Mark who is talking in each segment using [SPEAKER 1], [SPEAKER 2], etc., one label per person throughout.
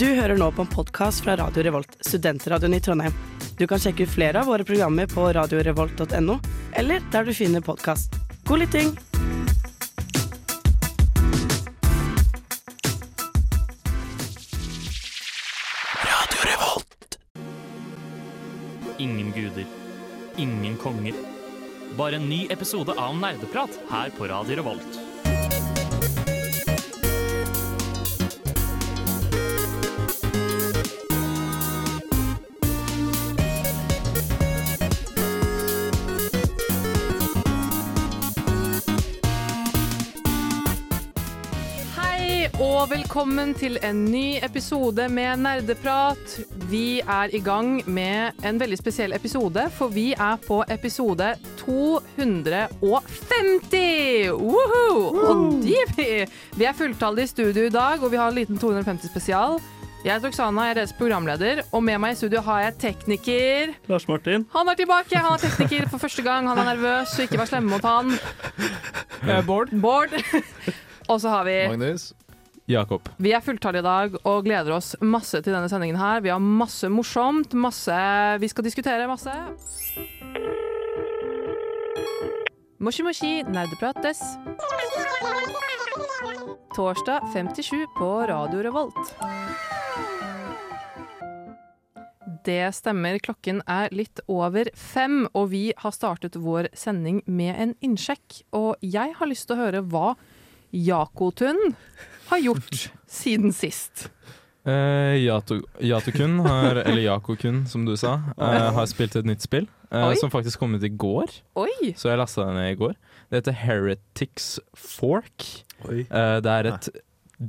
[SPEAKER 1] Du hører nå på en podkast fra Radio Revolt, studentradioen i Trondheim. Du kan sjekke ut flere av våre programmer på radiorevolt.no, eller der du finner podkast. God lytting!
[SPEAKER 2] Ingen guder. Ingen konger. Bare en ny episode av Nerdeprat her på Radio Revolt.
[SPEAKER 3] Hei og velkommen til en ny episode med Nerdeprat. Vi er i gang med en veldig spesiell episode, for vi er på episode 250! Woohoo! Og de, vi- vi er fulltallige i studio i dag, og vi har en liten 250 spesial. Jeg heter Oksana, jeg er deres programleder, og med meg i studio har jeg tekniker.
[SPEAKER 4] Lars Martin.
[SPEAKER 3] Han er tilbake, han er tekniker for første gang, han er nervøs, så ikke vær slemme mot han. Bård. Bård. Og så har vi
[SPEAKER 5] Magnus.
[SPEAKER 4] Jakob.
[SPEAKER 3] Vi er fulltallige i dag og gleder oss masse til denne sendingen her. Vi har masse morsomt, masse Vi skal diskutere masse. Moshi Moshi nerdeprates. Torsdag 57 på Radio Revolt. Det stemmer. Klokken er litt over fem, og vi har startet vår sending med en innsjekk. Og jeg har lyst til å høre hva Jakotun har gjort siden sist.
[SPEAKER 4] Eh, Yato- Yatokun, har, eller Yakokun som du sa, eh, har spilt et nytt spill. eh,
[SPEAKER 3] Oi.
[SPEAKER 4] som faktisk kom ut i går,
[SPEAKER 3] Oi!
[SPEAKER 4] så jeg lasta det ned i går. Det heter Heretics Fork.
[SPEAKER 5] Oi.
[SPEAKER 4] Eh, det er et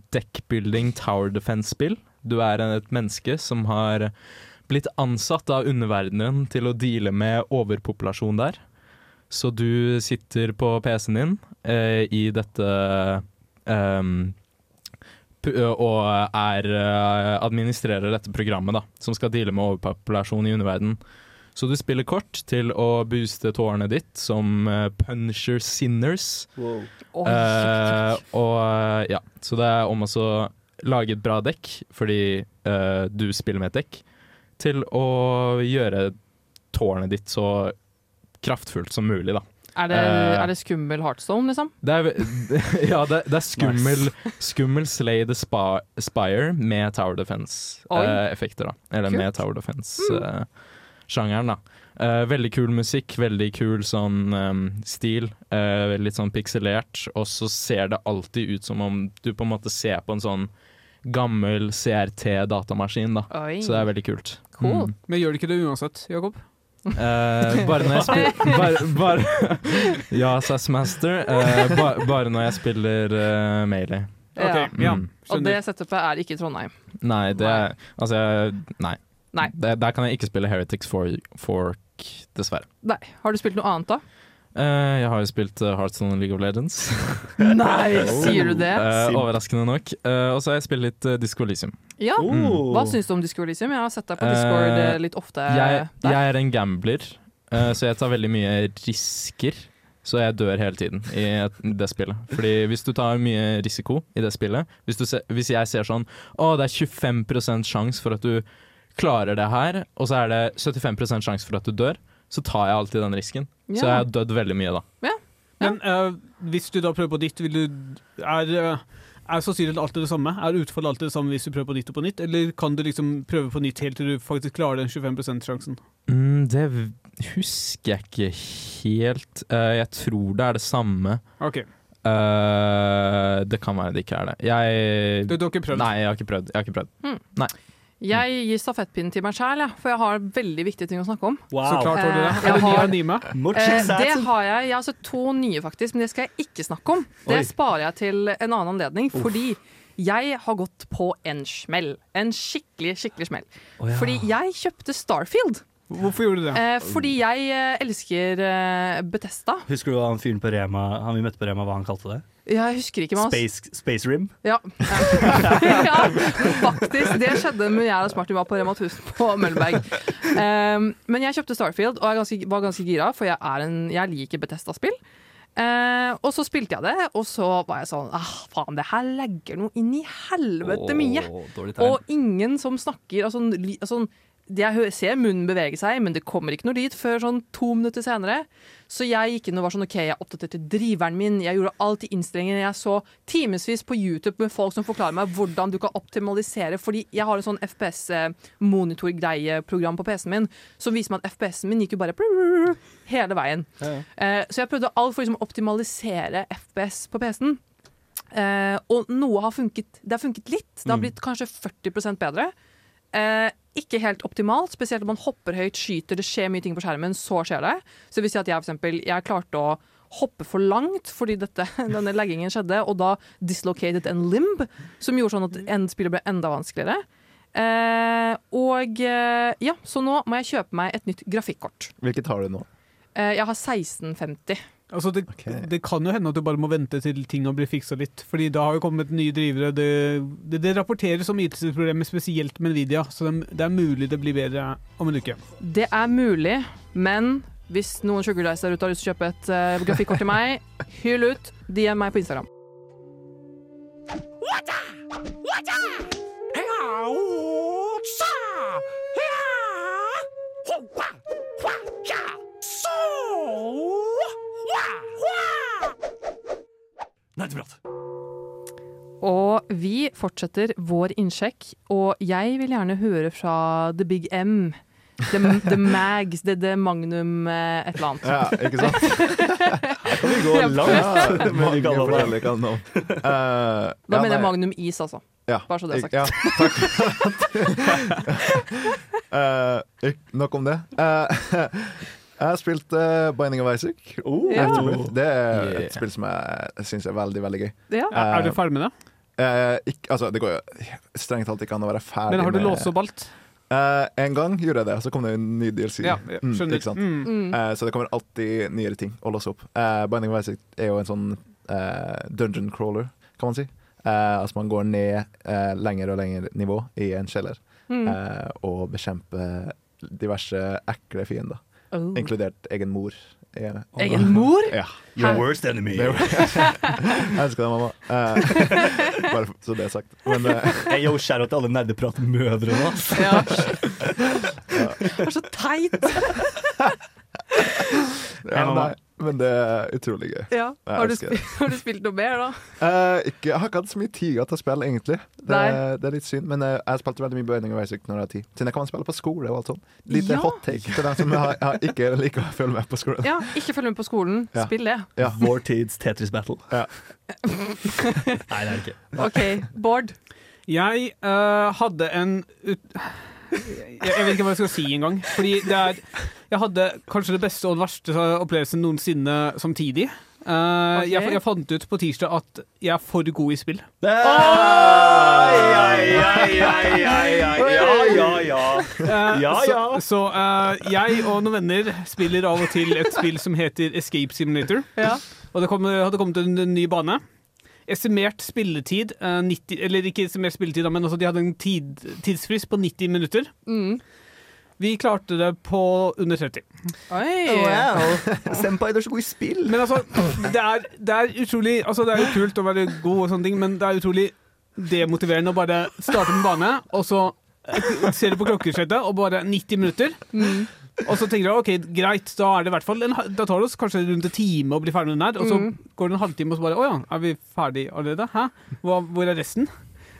[SPEAKER 4] deckbuilding tower defense-spill. Du er en- et menneske som har blitt ansatt av underverdenen til å deale med overpopulasjon der. Så du sitter på PC-en din eh, i dette ehm, pu- eh, og er eh, administrerer dette programmet da, som skal deale med overpopulasjon i underverdenen. Så du spiller kort til å booste tårnet ditt som eh, puncher sinners.
[SPEAKER 3] Oi.
[SPEAKER 4] Eh, og eh, ja, så det er om også å lage et bra dekk, fordi eh, du spiller med et dekk, til å gjøre tårnet ditt så kraftfullt som mulig, da.
[SPEAKER 3] er, det,
[SPEAKER 4] eh,
[SPEAKER 3] er det skummel Heartstone, liksom?
[SPEAKER 4] Det er, ja, det, det er skummel, skummel Slay the spa, Spire med Tower
[SPEAKER 3] Oi.
[SPEAKER 4] Defense-effekter, da. Eller med
[SPEAKER 3] Kult. Mm.
[SPEAKER 4] Tower Defense-sjangeren, da. Eh, veldig kul musikk, veldig kul sånn ehm, stil. eh, litt sånn pikselert. Og så ser det alltid ut som om du på en måte ser på en sånn gammel CRT-datamaskin, da.
[SPEAKER 3] Oi.
[SPEAKER 4] Så det er veldig kult.
[SPEAKER 3] Cool.
[SPEAKER 4] Mm.
[SPEAKER 6] Men gjør det ikke det uansett, Jakob?
[SPEAKER 4] Eh, bare når jeg spiller bare, bare, Ja, Sassmaster. eh, ba, bare når jeg spiller uh, Melee.
[SPEAKER 3] ja.
[SPEAKER 6] Ok, ja,
[SPEAKER 4] Mm.
[SPEAKER 3] Og det
[SPEAKER 6] skjønner.
[SPEAKER 3] setupet er ikke i Trondheim.
[SPEAKER 4] Nei, det
[SPEAKER 3] Nei.
[SPEAKER 4] Altså, jeg- nei.
[SPEAKER 3] Nei.
[SPEAKER 4] Det, der kan jeg ikke spille Heretics for, Fork, dessverre.
[SPEAKER 3] Nei. Har du spilt noe annet, da?
[SPEAKER 4] Eh, jeg har jo spilt uh, Heartstone og League of Legends.
[SPEAKER 3] Nei! Sier du det?
[SPEAKER 4] Eh,
[SPEAKER 5] Simp.
[SPEAKER 4] overraskende nok. Eh, og så har jeg spilt litt uh, Disco Elysium.
[SPEAKER 3] Ja.
[SPEAKER 7] Mm.
[SPEAKER 6] Mm.
[SPEAKER 5] Oh.
[SPEAKER 3] Hva syns du om Discord, liksom? Jeg har sett deg på Discord
[SPEAKER 4] Eh,
[SPEAKER 3] eh, litt ofte.
[SPEAKER 4] Jeg,
[SPEAKER 3] der.
[SPEAKER 4] jeg er en gambler, eh, så jeg tar veldig mye risker. Så jeg dør hele tiden i et- det spillet. Fordi hvis du tar mye risiko i det spillet Hvis, du se, hvis jeg ser sånn Å, det er 25 sjanse for at du klarer det her, og så er det 75 sjanse for at du dør, så tar jeg alltid den risken. Så jeg
[SPEAKER 3] Ja.
[SPEAKER 4] har dødd veldig mye, da.
[SPEAKER 6] Men eh, hvis du da prøver på ditt, vil du Er, uh, er sannsynligheten alltid det samme? Er utfallet alltid det samme hvis du prøver på nytt og på nytt? Eller kan du liksom prøve på nytt helt til du faktisk klarer den 25 %-sjansen?
[SPEAKER 4] Mm, det v- husker jeg ikke helt. Eh, jeg tror det er det samme.
[SPEAKER 6] OK.
[SPEAKER 4] Eh, det kan være det ikke er det. Jeg
[SPEAKER 6] Du, du har ikke prøvd?
[SPEAKER 4] Nei, jeg har ikke prøvd. Jeg har ikke prøvd.
[SPEAKER 3] jeg gir stafettpinnen til meg sjæl, ja, for jeg har veldig viktige ting å snakke om.
[SPEAKER 6] Så klart har du det.
[SPEAKER 3] Eh, jeg
[SPEAKER 6] Er det ny
[SPEAKER 3] har-
[SPEAKER 6] anime?
[SPEAKER 3] Eh, det har jeg. Jeg har sett to nye, faktisk, men det skal jeg ikke snakke om. Det
[SPEAKER 5] Oi.
[SPEAKER 3] sparer jeg til en annen anledning, fordi jeg har gått på en smell. En skikkelig, skikkelig smell. Fordi jeg kjøpte Starfield.
[SPEAKER 6] Hvorfor gjorde du det?
[SPEAKER 3] Eh, fordi jeg eh, elsker eh, Betesta.
[SPEAKER 8] Husker du hva han fyren på Rema Han vi møtte på Rema, hva han kalte det?
[SPEAKER 3] Jeg husker ikke med oss.
[SPEAKER 8] Space, space Rim?
[SPEAKER 3] Ja. ja, faktisk. Det skjedde når jeg og Smarty var på Rema 1000 på Møllenberg. Ehm, Um, men jeg kjøpte Starfield og jeg er ganske, var ganske gira, for jeg, er en, jeg liker Betesta-spill. Eh, og så spilte jeg det, og så var jeg sånn ah, Faen, det her legger noe inn i helvete mye.
[SPEAKER 5] Åh, Dårlig tegn.
[SPEAKER 3] Og ingen som snakker altså, li- altså, det Jeg hø- ser munnen bevege seg, men det kommer ikke noe dit før sånn to minutter senere. Så jeg gikk inn og var sånn OK, jeg oppdaterte driveren min, jeg gjorde alt i innstillingene. Jeg så timevis på YouTube med folk som forklarer meg hvordan du kan optimalisere. Fordi jeg har en sånn FPS-monitorgreie-program på PC-en min som viser meg at FPS-en min gikk jo bare prrrr hele veien. Eh, Så jeg prøvde alt for liksom å optimalisere FPS på PC-en. Eh, og noe har funket. Det har funket litt. Det har blitt kanskje 40 bedre. Eh, ikke helt optimalt, spesielt om man hopper høyt, skyter, det skjer mye ting på skjermen, så skjer det. Så det vil si at jeg for eksempel, jeg klarte å hoppe for langt fordi dette, denne leggingen skjedde, og da dislocated en limb, som gjorde sånn at en spillet ble enda vanskeligere. Eh, og eh, ja, så nå må jeg kjøpe meg et nytt grafikkort.
[SPEAKER 7] Hvilket har du nå?
[SPEAKER 3] Eh, jeg har 1650.
[SPEAKER 6] Altså det,
[SPEAKER 7] Ok.
[SPEAKER 6] det kan jo hende at du bare må vente til ting har blitt fiksa litt. Fordi da har jo kommet nye drivere. Det, det, det rapporteres om IT-problemer spesielt med Nvidia, så det, det er mulig det blir bedre om en uke.
[SPEAKER 7] Eh,
[SPEAKER 3] Det er mulig, men hvis noen sugar dice der ute har lyst til å kjøpe et eh, grafikkort til meg, hyll ut. DM meg på Instagram.
[SPEAKER 2] Nerdeprat.
[SPEAKER 3] Og vi fortsetter vår innsjekk, og jeg vil gjerne høre fra The Big M. The, the Mags, the, the Magnum eh, et eller annet.
[SPEAKER 7] Ja, ikke sant? Her kan vi gå langt med mange forskjellige kanaler. Eh,
[SPEAKER 3] Da
[SPEAKER 7] ja,
[SPEAKER 3] mener jeg
[SPEAKER 7] nei,
[SPEAKER 3] Magnum Is, altså.
[SPEAKER 7] ja.
[SPEAKER 3] bare så det er sagt.
[SPEAKER 7] Ja, takk for at Eh, ikk- Nok om det. Eh, jeg har spilt eh, Binding of Isaac.
[SPEAKER 3] Ja.
[SPEAKER 7] Afterbirth. Det er
[SPEAKER 4] Yeah.
[SPEAKER 7] et spill som jeg syns er veldig, veldig gøy.
[SPEAKER 3] Ja.
[SPEAKER 6] Er, er du ferdig med det?
[SPEAKER 7] Eh, ikk- altså, det går jo strengt talt ikke an å være ferdig
[SPEAKER 6] Men har du
[SPEAKER 7] med-
[SPEAKER 6] låst opp alt?
[SPEAKER 7] Eh, en gang gjorde jeg det, så kom det en ny DLC.
[SPEAKER 6] Ja,
[SPEAKER 7] Mm,
[SPEAKER 6] skjønner.
[SPEAKER 7] ikke sant?
[SPEAKER 6] Mm.
[SPEAKER 3] Mm.
[SPEAKER 7] Eh, så det kommer alltid nyere ting å låse opp. Eh, Binding of Isaac er jo en sånn eh, dungeon crawler, kan man si. Eh, altså man går ned eh, lenger og lenger nivå i en kjeller
[SPEAKER 3] Mm.
[SPEAKER 7] eh, og bekjemper diverse ekle fiender,
[SPEAKER 3] Oh.
[SPEAKER 7] inkludert egen mor. Eh,
[SPEAKER 3] Egen mor?
[SPEAKER 7] Ja.
[SPEAKER 8] Your worst enemy.
[SPEAKER 7] Det er jo- jeg elsker deg, mamma. Eh, bare for- så det er sagt. Men eh,
[SPEAKER 8] Hey, yo, shout out til alle nerdepratmødrene. ass.
[SPEAKER 3] Ja. Det er så teit!
[SPEAKER 7] ja, nei, men det er utrolig gøy.
[SPEAKER 3] Ja.
[SPEAKER 7] Jeg
[SPEAKER 3] Har, du
[SPEAKER 7] elsker det.
[SPEAKER 3] spilt, har du spilt noe mer, da?
[SPEAKER 7] Eh, ikke, jeg har ikke hatt så mye tid til å spille, egentlig. Det,
[SPEAKER 3] Nei.
[SPEAKER 7] det er litt synd. Men eh, jeg spilte veldig mye Binding of Isaac når jeg har tid. Siden jeg kan spille på skole og alt sånt. Lite
[SPEAKER 3] Ja.
[SPEAKER 7] hot take til dem som har, har ikke liker å følge med på skolen.
[SPEAKER 3] Ja, ikke følg med på skolen.
[SPEAKER 7] Ja.
[SPEAKER 3] Spill det.
[SPEAKER 7] Ja.
[SPEAKER 8] Vår tids Tetris Battle.
[SPEAKER 7] Ja.
[SPEAKER 8] Nei, det er det ikke.
[SPEAKER 3] OK, Bård.
[SPEAKER 6] Jeg eh, hadde en ut... jeg, jeg vet ikke hva jeg skal si engang. Fordi det er Jeg hadde kanskje det beste og den verste opplevelsen noensinne samtidig. Eh, jeg,
[SPEAKER 3] Ok.
[SPEAKER 6] jeg fant ut på tirsdag at jeg er for god i spill.
[SPEAKER 8] Ja, ja, ja.
[SPEAKER 6] Eh,
[SPEAKER 8] Ja, ja.
[SPEAKER 6] Så, så eh, jeg og noen venner spiller av og til et spill som heter Escape Simulator.
[SPEAKER 3] Ja.
[SPEAKER 6] Og det kom, hadde kommet en, en ny bane. Estimert spilletid eh, 90, Eller ikke estimert spilletid, da, men altså, de hadde en tid, tidsfrist på 90 minutter.
[SPEAKER 3] Mm.
[SPEAKER 6] Vi klarte det på under 30.
[SPEAKER 3] Oi!
[SPEAKER 8] Senpai, du er så god i spill.
[SPEAKER 6] Men altså, det er, det er utrolig Altså, det er jo kult å være god og sånne ting, men det er utrolig demotiverende å bare starte med bane, og så ser du på klokkeslettet, og bare 90 minutter.
[SPEAKER 3] Mm.
[SPEAKER 6] Og så tenker du OK, greit, da er det i hvert fall en, ha- Da tar det oss kanskje rundt en time å bli ferdig med den her, og så
[SPEAKER 3] Mm.
[SPEAKER 6] går det en halvtime, og så bare Å ja, er vi ferdig allerede? Hæ? Hva, hvor er resten?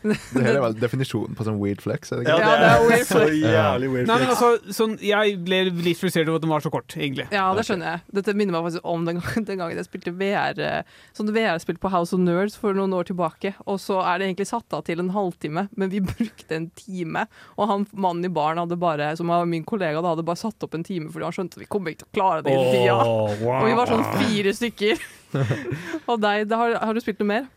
[SPEAKER 7] Det her er vel definisjonen på sånn weird flex. Er det
[SPEAKER 8] Ja,
[SPEAKER 7] ikke?
[SPEAKER 3] Ja, det er
[SPEAKER 8] det er
[SPEAKER 3] weird
[SPEAKER 8] så jævlig weird.
[SPEAKER 6] Nei, men
[SPEAKER 8] flex.
[SPEAKER 6] altså, sånn, jeg ble litt frustrert over at den var så kort, egentlig.
[SPEAKER 3] Ja, det skjønner jeg. Dette minner meg faktisk om den gangen, den gangen jeg spilte VR, eh, sånn VR-spill på House of Nerds for noen år tilbake. Og så er det egentlig satt av til en halvtime, men vi brukte en time. Og han mannen i baren hadde bare, som var min kollega, da, hadde bare satt opp en time fordi han skjønte at vi kom ikke til å klare det hele tida.
[SPEAKER 8] Åh, wow.
[SPEAKER 3] Og vi var sånn fire stykker. Og deg, da har, har du spilt noe mer?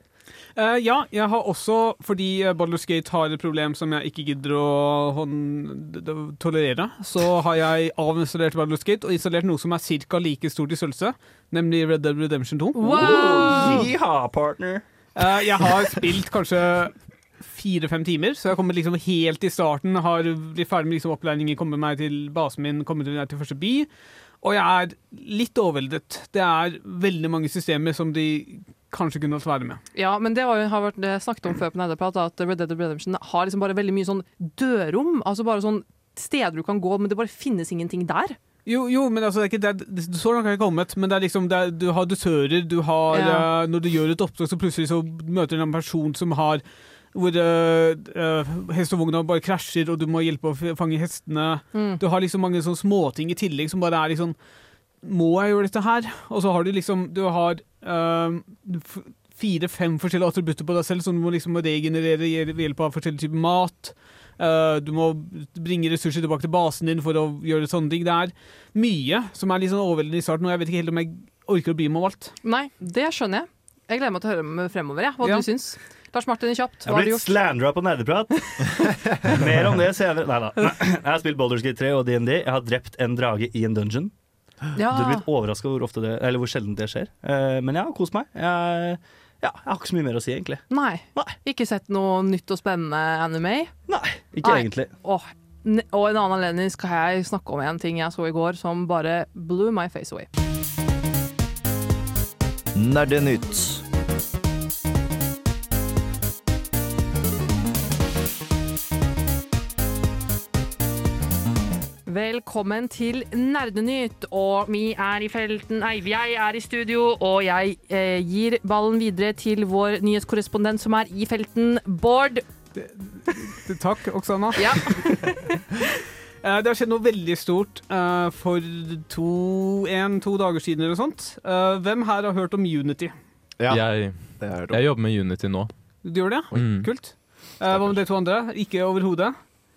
[SPEAKER 6] Eh, ja, jeg har også, fordi eh, Baldur's Gate har et problem som jeg ikke gidder å hånd- d- d- tolerere, så har jeg avinstallert Baldur's Gate og installert noe som er ca. like stort i størrelse, nemlig Red Dead Redemption 2.
[SPEAKER 3] Wow!
[SPEAKER 8] Yeehaw, partner.
[SPEAKER 6] Eh, jeg har spilt kanskje fire-fem timer, så jeg har kommet liksom helt i starten. Har blitt ferdig med liksom opplæringen, kommet meg til basen min, kommet meg til første by. og jeg er litt overveldet. Det er veldig mange systemer som de kanskje kunne latt være med.
[SPEAKER 3] Ja, men det har jo- har vært eh, snakket om før på Nerdeprat, at Red Dead Redemption har liksom bare veldig mye sånn dørrom. Altså bare sånn steder du kan gå, men det bare finnes ingenting der.
[SPEAKER 6] Jo, jo men altså, det er ikke, det er, det- så langt har jeg ikke kommet, men det er liksom, det er, du har dusører, du har
[SPEAKER 3] Ja.
[SPEAKER 6] eh, Når du gjør et oppdrag, så plutselig så møter du en person som har hvor eh, eh, hestevogna bare krasjer, og du må hjelpe å f- fange hestene. Du har liksom mange sånne småting i tillegg som bare er liksom Må jeg gjøre dette her? Og så har du liksom Du har eh, fire-fem forskjellige attributter på deg selv som du må liksom regenerere gjel- ved hjelp av forskjellige typer mat. Eh, du må bringe ressurser tilbake til basen din for å gjøre sånne ting. Det er mye som er litt sånn overveldende i starten, og jeg vet ikke helt om jeg orker å bli med om alt.
[SPEAKER 3] Nei, det skjønner jeg. Jeg gleder meg til å høre med fremover, jeg, hva
[SPEAKER 6] Ja.
[SPEAKER 3] du syns. Lars Martin, kjapt, hva
[SPEAKER 8] Jeg har
[SPEAKER 3] har du
[SPEAKER 8] blitt
[SPEAKER 3] gjort?
[SPEAKER 8] slandra på nerdeprat. Mer om det senere. Nei da. Jeg har spilt Baldur's Gate 3 og DND. Jeg har drept en drage i en dungeon. Du blir
[SPEAKER 3] Ja.
[SPEAKER 8] litt overraska hvor, ofte det- eller hvor sjelden det skjer. Eh, Men jeg har kost meg. Jeg, ja, jeg har ikke så mye mer å si, egentlig.
[SPEAKER 3] Nei.
[SPEAKER 8] Nei.
[SPEAKER 3] Ikke sett noe nytt og spennende anime?
[SPEAKER 8] Nei, ikke
[SPEAKER 3] Nei.
[SPEAKER 8] egentlig.
[SPEAKER 3] Åh, ne- og en annen anledning skal jeg snakke om en ting jeg så i går som bare blew my face away.
[SPEAKER 5] Nerdenytt.
[SPEAKER 3] Velkommen til Nerdenytt, og vi er i felten Nei, jeg er i studio, og jeg eh, gir ballen videre til vår nyhetskorrespondent som er i felten, Bård.
[SPEAKER 6] Takk, Oksana.
[SPEAKER 3] Ja.
[SPEAKER 6] Eh, Det har skjedd noe veldig stort eh, for to, en, to dager siden eller noe sånt. Eh, Hvem her har hørt om Unity?
[SPEAKER 7] Ja,
[SPEAKER 4] Jeg,
[SPEAKER 7] det har jeg hørt om.
[SPEAKER 4] jeg jobber med Unity nå.
[SPEAKER 6] Du gjør det?
[SPEAKER 4] Mm.
[SPEAKER 6] Kult. Eh, Hva med de to andre? Ikke overhodet.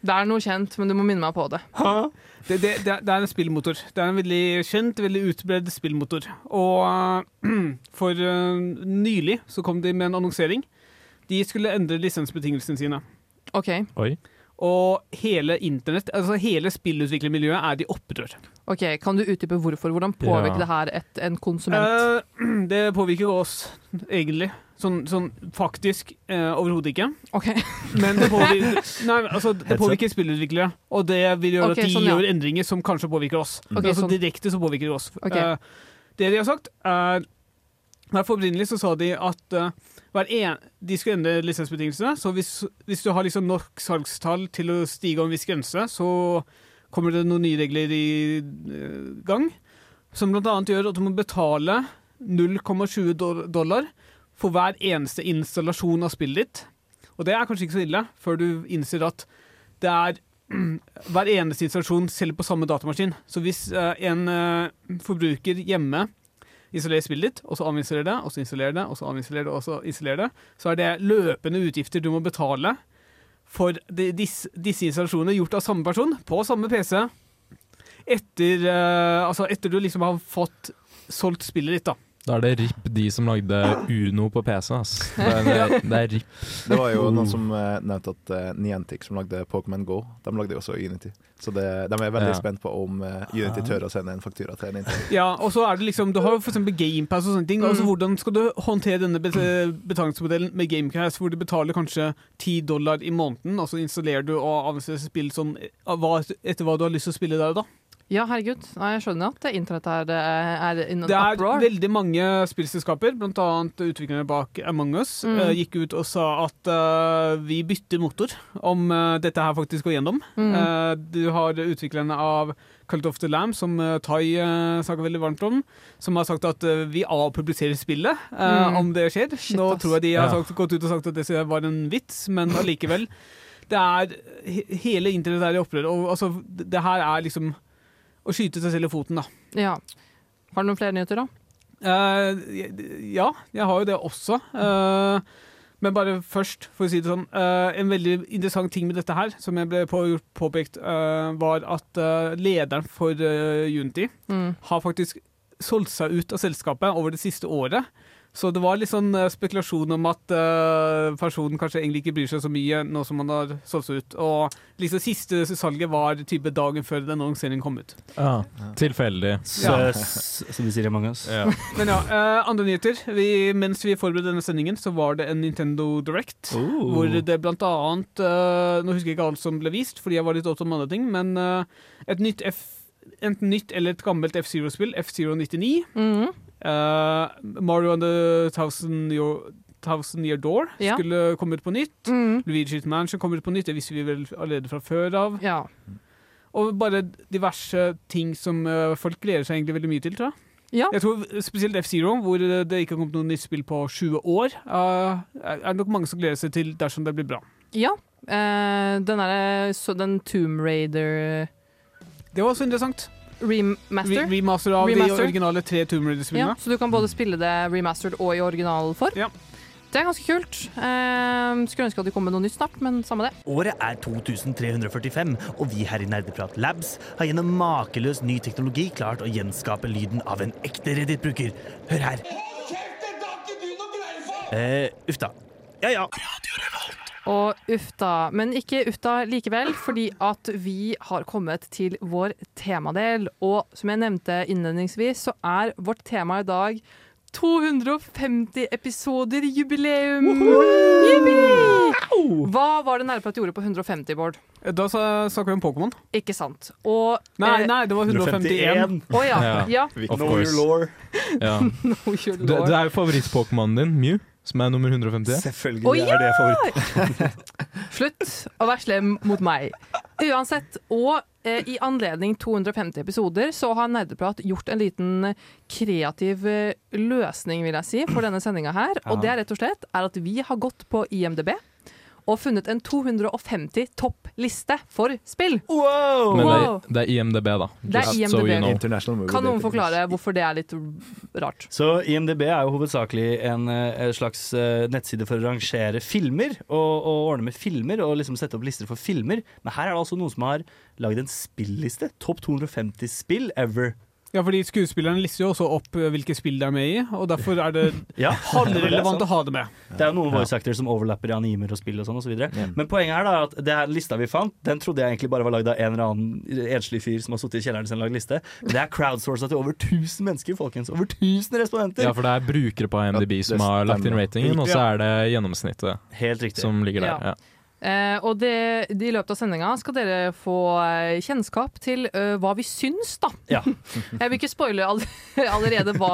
[SPEAKER 3] Det er noe kjent, men du må minne meg på det.
[SPEAKER 6] Det, det, det er- det er en spillmotor. Det er en veldig kjent, veldig utbredd spillmotor. Og eh, for eh, nylig så kom de med en annonsering. De skulle endre lisensbetingelsene sine.
[SPEAKER 3] OK.
[SPEAKER 4] Oi.
[SPEAKER 6] Og hele internett, altså hele spillutviklermiljøet er i opprør.
[SPEAKER 3] ok, Kan du utdype hvorfor? Hvordan påvirker
[SPEAKER 4] Ja.
[SPEAKER 3] det her et, en konsument?
[SPEAKER 6] Eh, det påvirker jo oss, egentlig. Sånn, sånn faktisk eh, overhodet ikke.
[SPEAKER 3] Ok,
[SPEAKER 6] Men det påvirker, nei, altså, det
[SPEAKER 8] Headset.
[SPEAKER 6] påvirker spillutviklere, og det vil gjøre
[SPEAKER 3] Ok,
[SPEAKER 6] at de
[SPEAKER 3] sånn, ja.
[SPEAKER 6] gjør endringer som kanskje påvirker oss.
[SPEAKER 3] Ok,
[SPEAKER 6] altså
[SPEAKER 3] sånn.
[SPEAKER 6] direkte så påvirker det oss.
[SPEAKER 3] Ok.
[SPEAKER 6] Eh, det de har sagt, er Derfor opprinnelig så sa de at eh, hver en, de skulle endre lisensbetingelsene. Så hvis, hvis du har liksom nok salgstall til å stige over en viss grense, så kommer det noen nye regler i eh, gang. Som blant annet gjør at du må betale 0,20 doll- dollar for hver eneste installasjon av spillet ditt. Og det er kanskje ikke så ille, før du innser at det er hver eneste installasjon selv på samme datamaskin. Så hvis eh, en eh, forbruker hjemme installerer spillet ditt, og så avinstallerer det, og så installerer det, og så avinstallerer det, og så installerer det, så er det løpende utgifter du må betale for de, disse, disse installasjonene gjort av samme person på samme PC etter, eh, altså etter du liksom har fått solgt spillet ditt, da.
[SPEAKER 4] Da er det RIP de som lagde Uno på PC. Ass. Det, er, det er RIP.
[SPEAKER 7] Det var jo noen som eh, nevnte at eh, Niantic, som lagde Pokémon Go, de lagde jo også Unity. Så det, de er veldig
[SPEAKER 4] Ja.
[SPEAKER 7] spent på om eh, Unity tør å sende en faktura til Nintendo.
[SPEAKER 6] Ja, og så er det liksom Du har jo for eksempel GamePass og sånne ting.
[SPEAKER 3] Mm.
[SPEAKER 6] Altså, hvordan skal du håndtere denne bet- betalingsmodellen med GameCash, hvor du betaler kanskje 10 dollar i måneden, og så installerer du og avanserer spill sånn eh, hva, etter hva du har lyst til å spille der og da?
[SPEAKER 3] Ja, herregud. Nei, jeg skjønner at internett er, eh, er in an
[SPEAKER 6] Det er
[SPEAKER 3] uproar.
[SPEAKER 6] veldig mange spillselskaper, bl.a. utviklerne bak Among Us,
[SPEAKER 3] Mm.
[SPEAKER 6] eh, gikk ut og sa at eh, vi bytter motor om eh, dette her faktisk går gjennom.
[SPEAKER 3] Mm.
[SPEAKER 6] Eh, du har utviklerne av Cult of the Lamb, som eh, Tai eh, snakker veldig varmt om, som har sagt at eh, vi avpubliserer spillet eh,
[SPEAKER 3] Mm.
[SPEAKER 6] om det skjer.
[SPEAKER 3] Shit,
[SPEAKER 6] Nå
[SPEAKER 3] ass.
[SPEAKER 6] tror jeg de har
[SPEAKER 4] Ja.
[SPEAKER 6] sagt, gått ut og sagt at det var en vits, men allikevel. Det er he- Hele internett er i opprør, og altså, det det her er liksom å skyte seg selv i foten, da.
[SPEAKER 3] Ja. Har du noen flere nyheter, da?
[SPEAKER 6] Eh, jeg- ja, jeg har jo det også. Eh, men bare først, for å si det sånn. eh, en veldig interessant ting med dette her, som jeg ble på, påpekt, eh, var at eh, lederen for eh, Unity
[SPEAKER 3] Mm.
[SPEAKER 6] har faktisk solgt seg ut av selskapet over det siste året. Så det var litt sånn eh, spekulasjon om at eh, personen kanskje egentlig ikke bryr seg så mye nå som han har solgt seg ut. Og liksom siste salget var type dagen før den annonseringen kom ut.
[SPEAKER 4] Ja. Tilfeldig.
[SPEAKER 6] Ja.
[SPEAKER 8] Søs, som de sier i Among us.
[SPEAKER 4] Ja.
[SPEAKER 6] Men ja, eh, andre nyheter. Vi, mens vi forberedte denne sendingen, så var det en Nintendo Direct.
[SPEAKER 8] Oh.
[SPEAKER 6] Hvor det blant annet eh, Nå husker jeg ikke alt som ble vist, fordi jeg var litt opptatt med andre ting, men eh, et nytt F enten nytt eller et gammelt F-Zero-spill, F-Zero99.
[SPEAKER 3] Mhm.
[SPEAKER 6] Eh, Mario and the Thousand Year, Thousand Year Door
[SPEAKER 3] Ja.
[SPEAKER 6] skulle komme ut på nytt.
[SPEAKER 3] Mhm.
[SPEAKER 6] Luigi's Mansion kommer ut på nytt, det visste vi vel allerede fra før av.
[SPEAKER 3] Ja.
[SPEAKER 6] Og bare diverse ting som eh, folk gleder seg egentlig veldig mye til, tror jeg.
[SPEAKER 3] ja.
[SPEAKER 6] Jeg tror Spesielt F-Zero, hvor det ikke har kommet noe nytt spill på 20 år, eh, er det nok mange som gleder seg til dersom det blir bra.
[SPEAKER 3] ja. Eh, den derre så den Tomb Raider
[SPEAKER 6] Det var også interessant. Re
[SPEAKER 3] remaster.
[SPEAKER 6] remaster av
[SPEAKER 3] Remaster.
[SPEAKER 6] de originale tre Tomb
[SPEAKER 3] Ja,
[SPEAKER 6] Raider-spillene.
[SPEAKER 3] så du kan både spille det remastered og i original form.
[SPEAKER 6] Ja.
[SPEAKER 3] Det er ganske kult. Eh, skulle ønske at det kom med noe nytt snart, men samme det.
[SPEAKER 8] Året er 2345, og vi her i Nerdeprat Labs har gjennom makeløs ny teknologi klart å gjenskape lyden av en ekte Reddit-bruker. Hør her. Eh, uff da. Ja ja.
[SPEAKER 3] Og uff da, men ikke uff da likevel, fordi at vi har kommet til vår temadel. Og som jeg nevnte innledningsvis, så er vårt tema i dag 250 episoder jubileum! Yippee! Hva var det Nærprat gjorde på 150, Bård?
[SPEAKER 6] Da sa- snakker vi om Pokémon.
[SPEAKER 3] Ikke sant? Og
[SPEAKER 6] Nei,
[SPEAKER 3] eh,
[SPEAKER 6] nei, det var 151.
[SPEAKER 3] Å ja. ja.
[SPEAKER 4] Of course.
[SPEAKER 8] lore.
[SPEAKER 4] Ja.
[SPEAKER 3] No, your
[SPEAKER 4] Det,
[SPEAKER 3] lord.
[SPEAKER 4] det er jo favoritt-Pokémonen din, Mew, som er nummer 150.
[SPEAKER 8] Selvfølgelig
[SPEAKER 3] Å ja!
[SPEAKER 8] er det favoritt.
[SPEAKER 3] Slutt å være slem mot meg. Uansett, og eh, i anledning 250 episoder så har Nerdeprat gjort en liten kreativ eh, løsning, vil jeg si, for denne sendinga her. Og det er rett og slett er at vi har gått på IMDb og funnet en 250 topp liste for spill.
[SPEAKER 4] Men det er,
[SPEAKER 3] Wow.
[SPEAKER 4] det er IMDb, da.
[SPEAKER 3] Det er
[SPEAKER 4] Just
[SPEAKER 3] IMDb.
[SPEAKER 4] so you know.
[SPEAKER 7] International movie.
[SPEAKER 3] Kan noen
[SPEAKER 7] database.
[SPEAKER 3] forklare hvorfor det er litt rart?
[SPEAKER 8] Så IMDb er jo hovedsakelig en eh, slags eh, nettside for å rangere filmer, og, og ordne med filmer, og liksom sette opp lister for filmer. Men her er det altså noen som har lagd en spilliste. Topp 250 spill ever.
[SPEAKER 6] Ja, fordi skuespillerne lister jo også opp eh, hvilke spill de er med i, og derfor er det
[SPEAKER 8] Ja,
[SPEAKER 6] halvrelevant å ha det med.
[SPEAKER 8] Det er jo noen voice actors som overlapper i animer og spill og sånn og så videre. Men poenget her da er at det her lista vi fant, den trodde jeg egentlig bare var lagd av en eller annen enslig fyr som har sittet i kjelleren sin og lagd liste. Men Det er crowdsourcet til over 1000 mennesker, folkens. Over 1000 respondenter!
[SPEAKER 4] Ja, for det er brukere på
[SPEAKER 7] Ja,
[SPEAKER 4] IMDb
[SPEAKER 7] det
[SPEAKER 4] som har lagt inn
[SPEAKER 7] stemmer.
[SPEAKER 4] ratingen, og så er det gjennomsnittet
[SPEAKER 8] Helt riktig.
[SPEAKER 4] som ligger der.
[SPEAKER 3] Ja.
[SPEAKER 4] Ja.
[SPEAKER 3] Eh, og det, i løpet av sendinga skal dere få eh, kjennskap til eh, hva vi syns, da.
[SPEAKER 8] Ja.
[SPEAKER 3] Jeg vil ikke spoile all allerede hva,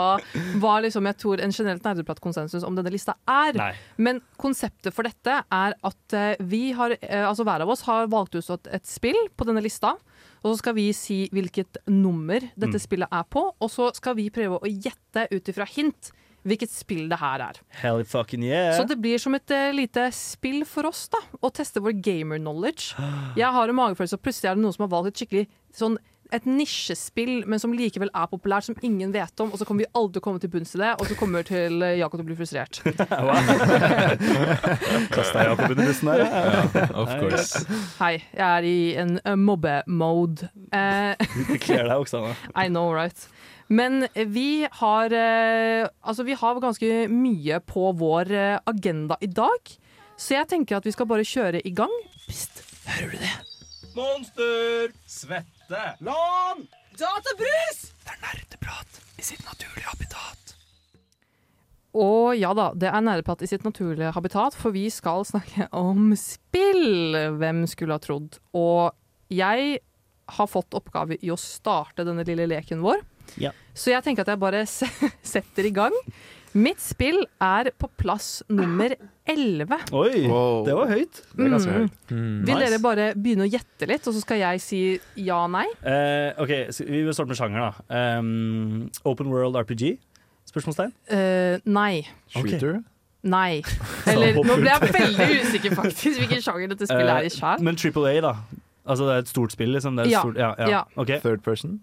[SPEAKER 3] hva liksom jeg tror en generelt nerdepratkonsensus om denne lista er.
[SPEAKER 8] Nei.
[SPEAKER 3] Men konseptet for dette er at eh, vi har, eh, altså hver av oss har valgt ut et, et spill på denne lista. Og så skal vi si hvilket nummer
[SPEAKER 8] Mm.
[SPEAKER 3] dette spillet er på, og så skal vi prøve å gjette ut ifra hint hvilket spill det her er.
[SPEAKER 8] Hell fucking yeah.
[SPEAKER 3] Så det blir som et eh, lite spill for oss, da. Å teste vår gamer knowledge. Jeg har en magefølelse, og plutselig er det noen som har valgt et skikkelig sånn et nisjespill, men som likevel er populært, som ingen vet om. Og så kommer vi aldri til å komme til bunns i det, og så kommer til eh, Jakob til å bli frustrert.
[SPEAKER 8] Kasta Jakob under bussen her. ja.
[SPEAKER 4] Of course.
[SPEAKER 3] Hei, jeg er i en eh, mobbe-mode. Eh,
[SPEAKER 8] Det kler deg, Oksana.
[SPEAKER 3] I know, right? Men vi har, eh, altså vi har ganske mye på vår eh, agenda i dag. Så jeg tenker at vi skal bare kjøre i gang. Pst, hører du det?
[SPEAKER 8] Monster! Svette! Lån!
[SPEAKER 3] Og ja da, det er nerdeprat i sitt naturlige habitat, for vi skal snakke om spill. Hvem skulle ha trodd? Og jeg har fått oppgave i å starte denne lille leken vår.
[SPEAKER 8] Ja.
[SPEAKER 3] Så jeg tenker at jeg bare se- setter i gang. Mitt spill er på plass nummer 11.
[SPEAKER 8] Oi,
[SPEAKER 7] Wow.
[SPEAKER 8] det var høyt.
[SPEAKER 7] Det er ganske høyt.
[SPEAKER 3] Mm.
[SPEAKER 4] Mm.
[SPEAKER 3] Vil
[SPEAKER 8] Nice.
[SPEAKER 3] dere bare begynne å gjette litt, og så skal jeg si ja nei?
[SPEAKER 8] Eh, ok, så Vi vil starte med sjanger, da. Um, open World RPG? Spørsmålstegn?
[SPEAKER 3] Eh, nei.
[SPEAKER 8] Ok.
[SPEAKER 7] Shooter.
[SPEAKER 3] Nei. Eller nå ble jeg veldig usikker, faktisk, hvilken sjanger dette spillet er i sjæl.
[SPEAKER 8] Men Triple A, da? Altså det er et stort spill, liksom? Det er et
[SPEAKER 3] Ja.
[SPEAKER 8] Stort, ja, ja.
[SPEAKER 3] Ja.
[SPEAKER 8] Ok.
[SPEAKER 7] Third person.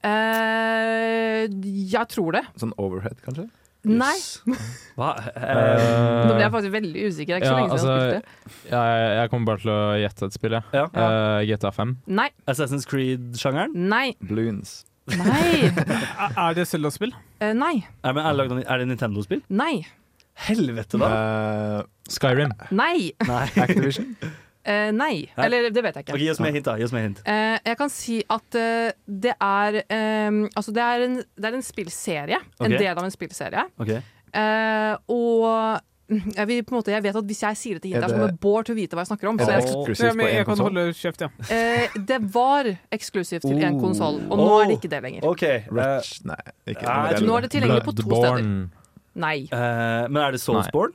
[SPEAKER 3] Eh, jeg tror det.
[SPEAKER 7] Sånn overhead, kanskje?
[SPEAKER 3] Nei.
[SPEAKER 8] Hva? Eh,
[SPEAKER 3] Nå ble
[SPEAKER 4] Eh,
[SPEAKER 3] jeg faktisk veldig usikker. Det er ikke så
[SPEAKER 4] ja,
[SPEAKER 3] lenge siden jeg
[SPEAKER 4] altså,
[SPEAKER 3] spilte.
[SPEAKER 4] jeg, jeg kommer bare til å gjette et spill, jeg.
[SPEAKER 8] ja.
[SPEAKER 4] Eh, GTA 5.
[SPEAKER 3] Nei,
[SPEAKER 8] Assassin's Creed-sjangeren?
[SPEAKER 3] nei,
[SPEAKER 7] Bloons.
[SPEAKER 3] nei,
[SPEAKER 6] Er er det Zelda-spill?
[SPEAKER 3] eh, nei,
[SPEAKER 8] Er, men er, det laget av- er det Nintendo-spill?
[SPEAKER 3] nei,
[SPEAKER 8] Helvete, da!
[SPEAKER 7] Eh,
[SPEAKER 4] Skyrim.
[SPEAKER 3] nei.
[SPEAKER 8] Nei.
[SPEAKER 7] Activision.
[SPEAKER 3] Eh, nei.
[SPEAKER 8] Nei.
[SPEAKER 3] Eller det vet jeg ikke.
[SPEAKER 8] Ok, Gi oss mer hint, da. Gi oss mer hint.
[SPEAKER 3] Eh, jeg kan si at eh, det er eh, Altså, det er en, det er en spillserie.
[SPEAKER 8] Ok.
[SPEAKER 3] En del av en spillserie.
[SPEAKER 8] Ok.
[SPEAKER 3] Eh, og jeg, vil, på en måte, jeg vet at hvis jeg sier det til
[SPEAKER 7] Er
[SPEAKER 3] hit, her, så
[SPEAKER 7] det-
[SPEAKER 3] kommer Bård til å vite hva jeg snakker om.
[SPEAKER 7] Er
[SPEAKER 3] Så
[SPEAKER 7] det
[SPEAKER 3] jeg skal,
[SPEAKER 7] eksklusivt
[SPEAKER 6] Ja,
[SPEAKER 7] på
[SPEAKER 6] men
[SPEAKER 7] én
[SPEAKER 6] jeg kan
[SPEAKER 7] konsoll?
[SPEAKER 6] holde kjeft, ja.
[SPEAKER 3] eh, det var eksklusivt til én
[SPEAKER 8] Oh.
[SPEAKER 3] konsoll, og nå er det
[SPEAKER 8] Oh.
[SPEAKER 3] ikke det lenger.
[SPEAKER 8] OK. eh,
[SPEAKER 7] Ratch Nei, ikke
[SPEAKER 8] Nei,
[SPEAKER 7] det
[SPEAKER 3] Nå er det tilgjengelig på to steder.
[SPEAKER 4] Bloodborne.
[SPEAKER 3] Nei.
[SPEAKER 8] eh, men er det Soulsborne?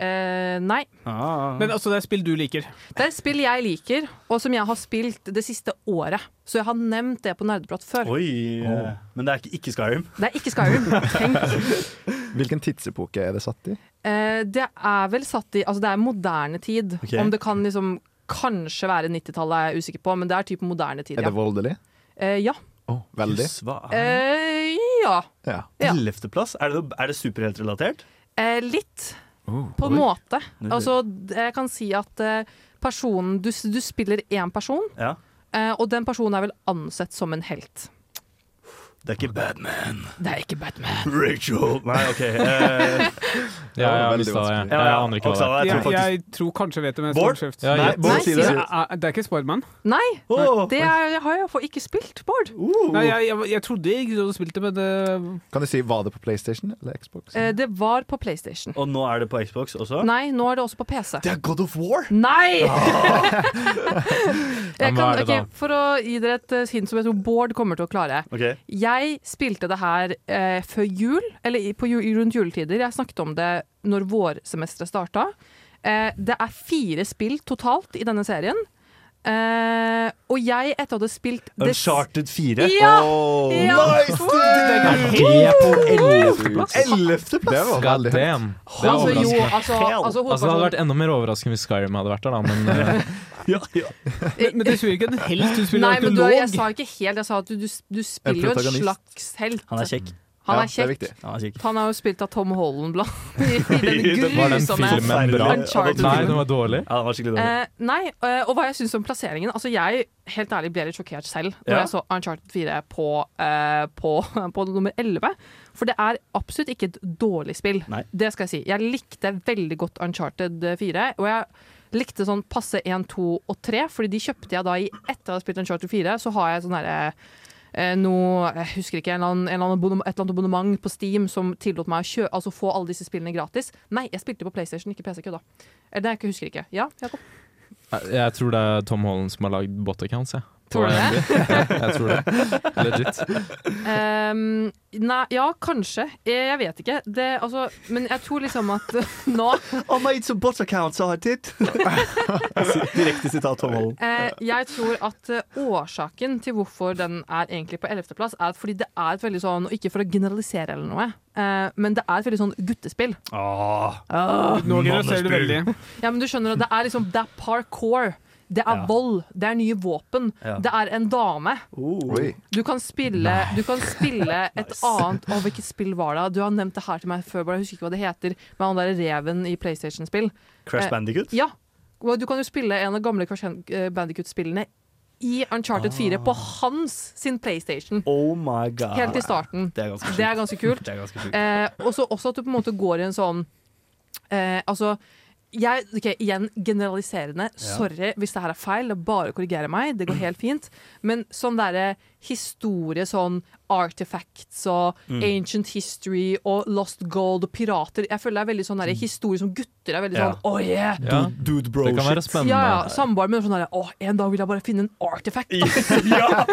[SPEAKER 3] Eh, nei.
[SPEAKER 8] Ah.
[SPEAKER 6] Men altså, det er spill du liker.
[SPEAKER 3] Det er spill jeg liker, og som jeg har spilt det siste året. Så jeg har nevnt det på Nerdeprat før.
[SPEAKER 8] Oi. eh, Men det er ikke, ikke Skyrim.
[SPEAKER 3] Det er ikke Skyrim. Tenk.
[SPEAKER 7] Hvilken tidsepoke er det satt i?
[SPEAKER 3] Eh, det er vel satt i Altså, det er moderne tid.
[SPEAKER 8] Ok.
[SPEAKER 3] Om det kan liksom kanskje være 90-tallet, er jeg usikker på, men det er type moderne tid,
[SPEAKER 7] Er
[SPEAKER 3] ja.
[SPEAKER 7] det voldelig?
[SPEAKER 3] Eh, ja.
[SPEAKER 7] Å, veldig.
[SPEAKER 8] Jøss, hva er
[SPEAKER 3] Eh, ja.
[SPEAKER 7] Ja.
[SPEAKER 3] ja.
[SPEAKER 8] Ellevteplass? Er det, er det superheltrelatert?
[SPEAKER 3] Eh, litt.
[SPEAKER 7] Oh.
[SPEAKER 3] På en måte.
[SPEAKER 8] Nydelig.
[SPEAKER 3] Altså, d- jeg kan si at eh, personen Du, s- du spiller én person,
[SPEAKER 8] Ja.
[SPEAKER 3] eh, og den personen er vel ansett som en helt.
[SPEAKER 8] Det er ikke Batman.
[SPEAKER 3] Det er ikke Batman.
[SPEAKER 8] Rachel Nei, OK. eh,
[SPEAKER 4] Ja, jeg har
[SPEAKER 7] veldig
[SPEAKER 4] mista det.
[SPEAKER 7] vanskelig.
[SPEAKER 4] Jeg Jeg aner ikke hva det er.
[SPEAKER 8] Oksana, jeg
[SPEAKER 6] Jeg,
[SPEAKER 8] tror faktisk
[SPEAKER 6] jeg tror kanskje jeg vet det, men jeg
[SPEAKER 8] Bård?
[SPEAKER 6] skal holde kjeft.
[SPEAKER 4] Ja,
[SPEAKER 8] Nei,
[SPEAKER 4] jeg-
[SPEAKER 8] Bård
[SPEAKER 3] Nei,
[SPEAKER 8] sier det.
[SPEAKER 3] sier
[SPEAKER 6] Det er- Det er ikke Spiderman.
[SPEAKER 3] Nei,
[SPEAKER 8] Åh,
[SPEAKER 3] det er, har jeg for- ikke spilt, Bård.
[SPEAKER 8] oh.
[SPEAKER 6] Nei, jeg, jeg, jeg trodde ikke du hadde spilt det, men eh, det
[SPEAKER 7] Kan du si var det på PlayStation eller Xbox?
[SPEAKER 3] Eh, det var på PlayStation.
[SPEAKER 8] Og nå er det på Xbox også?
[SPEAKER 3] Nei, nå er det også på PC.
[SPEAKER 8] Det er God of War!
[SPEAKER 3] Nei! jeg
[SPEAKER 4] Men hva
[SPEAKER 3] kan,
[SPEAKER 4] er det da?
[SPEAKER 3] ok, for å gi dere et eh, hint som jeg tror Bård kommer til å klare.
[SPEAKER 8] Ok,
[SPEAKER 3] Jeg spilte det her eh, før jul, eller i- på ju rundt juletider. Jeg snakket om det når vårsemesteret starta. Eh, det er fire spill totalt i denne serien. Eh, og jeg, etter å ha spilt det s-
[SPEAKER 8] Uncharted 4.
[SPEAKER 3] Ja!
[SPEAKER 7] Åh,
[SPEAKER 3] ja.
[SPEAKER 4] Det på
[SPEAKER 7] plass. Det var
[SPEAKER 4] God
[SPEAKER 7] veldig høyt.
[SPEAKER 4] damn. Det er
[SPEAKER 3] Altså, jo,
[SPEAKER 4] overraskende.
[SPEAKER 3] altså, altså,
[SPEAKER 4] Altså, det hadde
[SPEAKER 3] hovedpersonen-
[SPEAKER 4] vært enda mer overraskende hvis Skyrim hadde vært der, da, men eh,
[SPEAKER 8] Ja, ja.
[SPEAKER 6] Men det spiller ikke en helt, du spiller
[SPEAKER 3] Nei, men du,
[SPEAKER 6] arkeolog.
[SPEAKER 3] jeg sa ikke helt. Jeg sa at du, du, du spiller jo en
[SPEAKER 7] protagonist.
[SPEAKER 3] slags helt.
[SPEAKER 8] Han er kjekk.
[SPEAKER 3] Han
[SPEAKER 7] Ja,
[SPEAKER 3] er
[SPEAKER 7] det er
[SPEAKER 3] kjekk.
[SPEAKER 7] viktig.
[SPEAKER 8] Han er kjekk.
[SPEAKER 3] Han er jo spilt av Tom Holland blant i, i den
[SPEAKER 8] Det
[SPEAKER 4] var den
[SPEAKER 3] grusomme
[SPEAKER 4] filmen bra?
[SPEAKER 3] Uncharted.
[SPEAKER 8] Ah,
[SPEAKER 4] Nei, den var dårlig.
[SPEAKER 8] Ja, han var skikkelig dårlig.
[SPEAKER 3] Eh, nei, eh, og hva jeg syns om plasseringen. Altså Jeg helt ærlig ble litt sjokkert selv da
[SPEAKER 8] Ja.
[SPEAKER 3] jeg så Uncharted 4 på, eh, på, på nummer 11. For det er absolutt ikke et dårlig spill.
[SPEAKER 8] Nei.
[SPEAKER 3] Det skal jeg si. Jeg likte veldig godt Uncharted 4. Og jeg likte sånn passe 1, 2 og 3, fordi de kjøpte jeg da i etter å ha spilt Uncharted 4. Så har jeg sånn herre eh, noe, jeg husker ikke, en eller annen, en eller annen abonnement, et eller annet abonnement på Steam som tillot meg å kjø altså få alle disse spillene gratis. Nei, jeg spilte på PlayStation, ikke PC, kødda. Eller det jeg ikke husker ikke. Ja, Jakob?
[SPEAKER 4] jeg tror det er Tom Holland som har lagd bot accounts, jeg.
[SPEAKER 3] Tror du det?
[SPEAKER 4] Jeg tror det. Legit.
[SPEAKER 3] Ehm, nei, ja, kanskje. Eh, Jeg, jeg vet ikke. Det, altså, men jeg tror liksom at nå
[SPEAKER 8] Oh, mate, some bots account, so I did. Direkte sitat Tom Holland.
[SPEAKER 3] eh, Jeg tror at eh, årsaken til hvorfor den er egentlig på 11. plass, er at fordi det er et veldig sånn, og ikke for å generalisere eller noe, eh, men det er et veldig sånn guttespill.
[SPEAKER 8] Ah,
[SPEAKER 6] Nå generaliserer du veldig.
[SPEAKER 3] Ja, men du skjønner at det er liksom Det er parkour. Det er
[SPEAKER 8] Ja.
[SPEAKER 3] vold. Det er nye våpen.
[SPEAKER 8] Ja.
[SPEAKER 3] Det er en dame.
[SPEAKER 8] oh.
[SPEAKER 7] Oi.
[SPEAKER 3] Du kan spille, du kan spille et annet Å, hvilket spill var det? Du har nevnt det her til meg før, bare jeg husker ikke hva det heter. Med han derre reven i PlayStation-spill.
[SPEAKER 8] Crash
[SPEAKER 3] Eh,
[SPEAKER 8] Bandicoot?
[SPEAKER 3] Ja. Og Du kan jo spille en av de gamle Crash Bandicut-spillene i
[SPEAKER 8] Ah.
[SPEAKER 3] Uncharted 4 på hans sin PlayStation.
[SPEAKER 8] Oh my god.
[SPEAKER 3] Helt i starten.
[SPEAKER 8] Det er ganske
[SPEAKER 3] Det er ganske kult.
[SPEAKER 8] Det er ganske sjukt.
[SPEAKER 3] Eh, og så også at du på en måte går i en sånn eh, Altså jeg, ok, Igjen generaliserende. Sorry hvis det her er feil. Det er bare å korrigere meg. Det går helt fint. Men sånn derre historie, sånn artifacts og
[SPEAKER 8] Mm.
[SPEAKER 3] ancient history og lost gold og pirater Jeg føler det er veldig sånn derre historie som gutter er veldig
[SPEAKER 8] Mm. Ja.
[SPEAKER 3] sånn Oh yeah!
[SPEAKER 4] Ja.
[SPEAKER 8] Dude bro
[SPEAKER 4] Det kan være
[SPEAKER 8] shit.
[SPEAKER 4] spennende.
[SPEAKER 3] Ja, ja, samboeren min er sånn der Å, en dag vil jeg bare finne en artifact.
[SPEAKER 8] ja!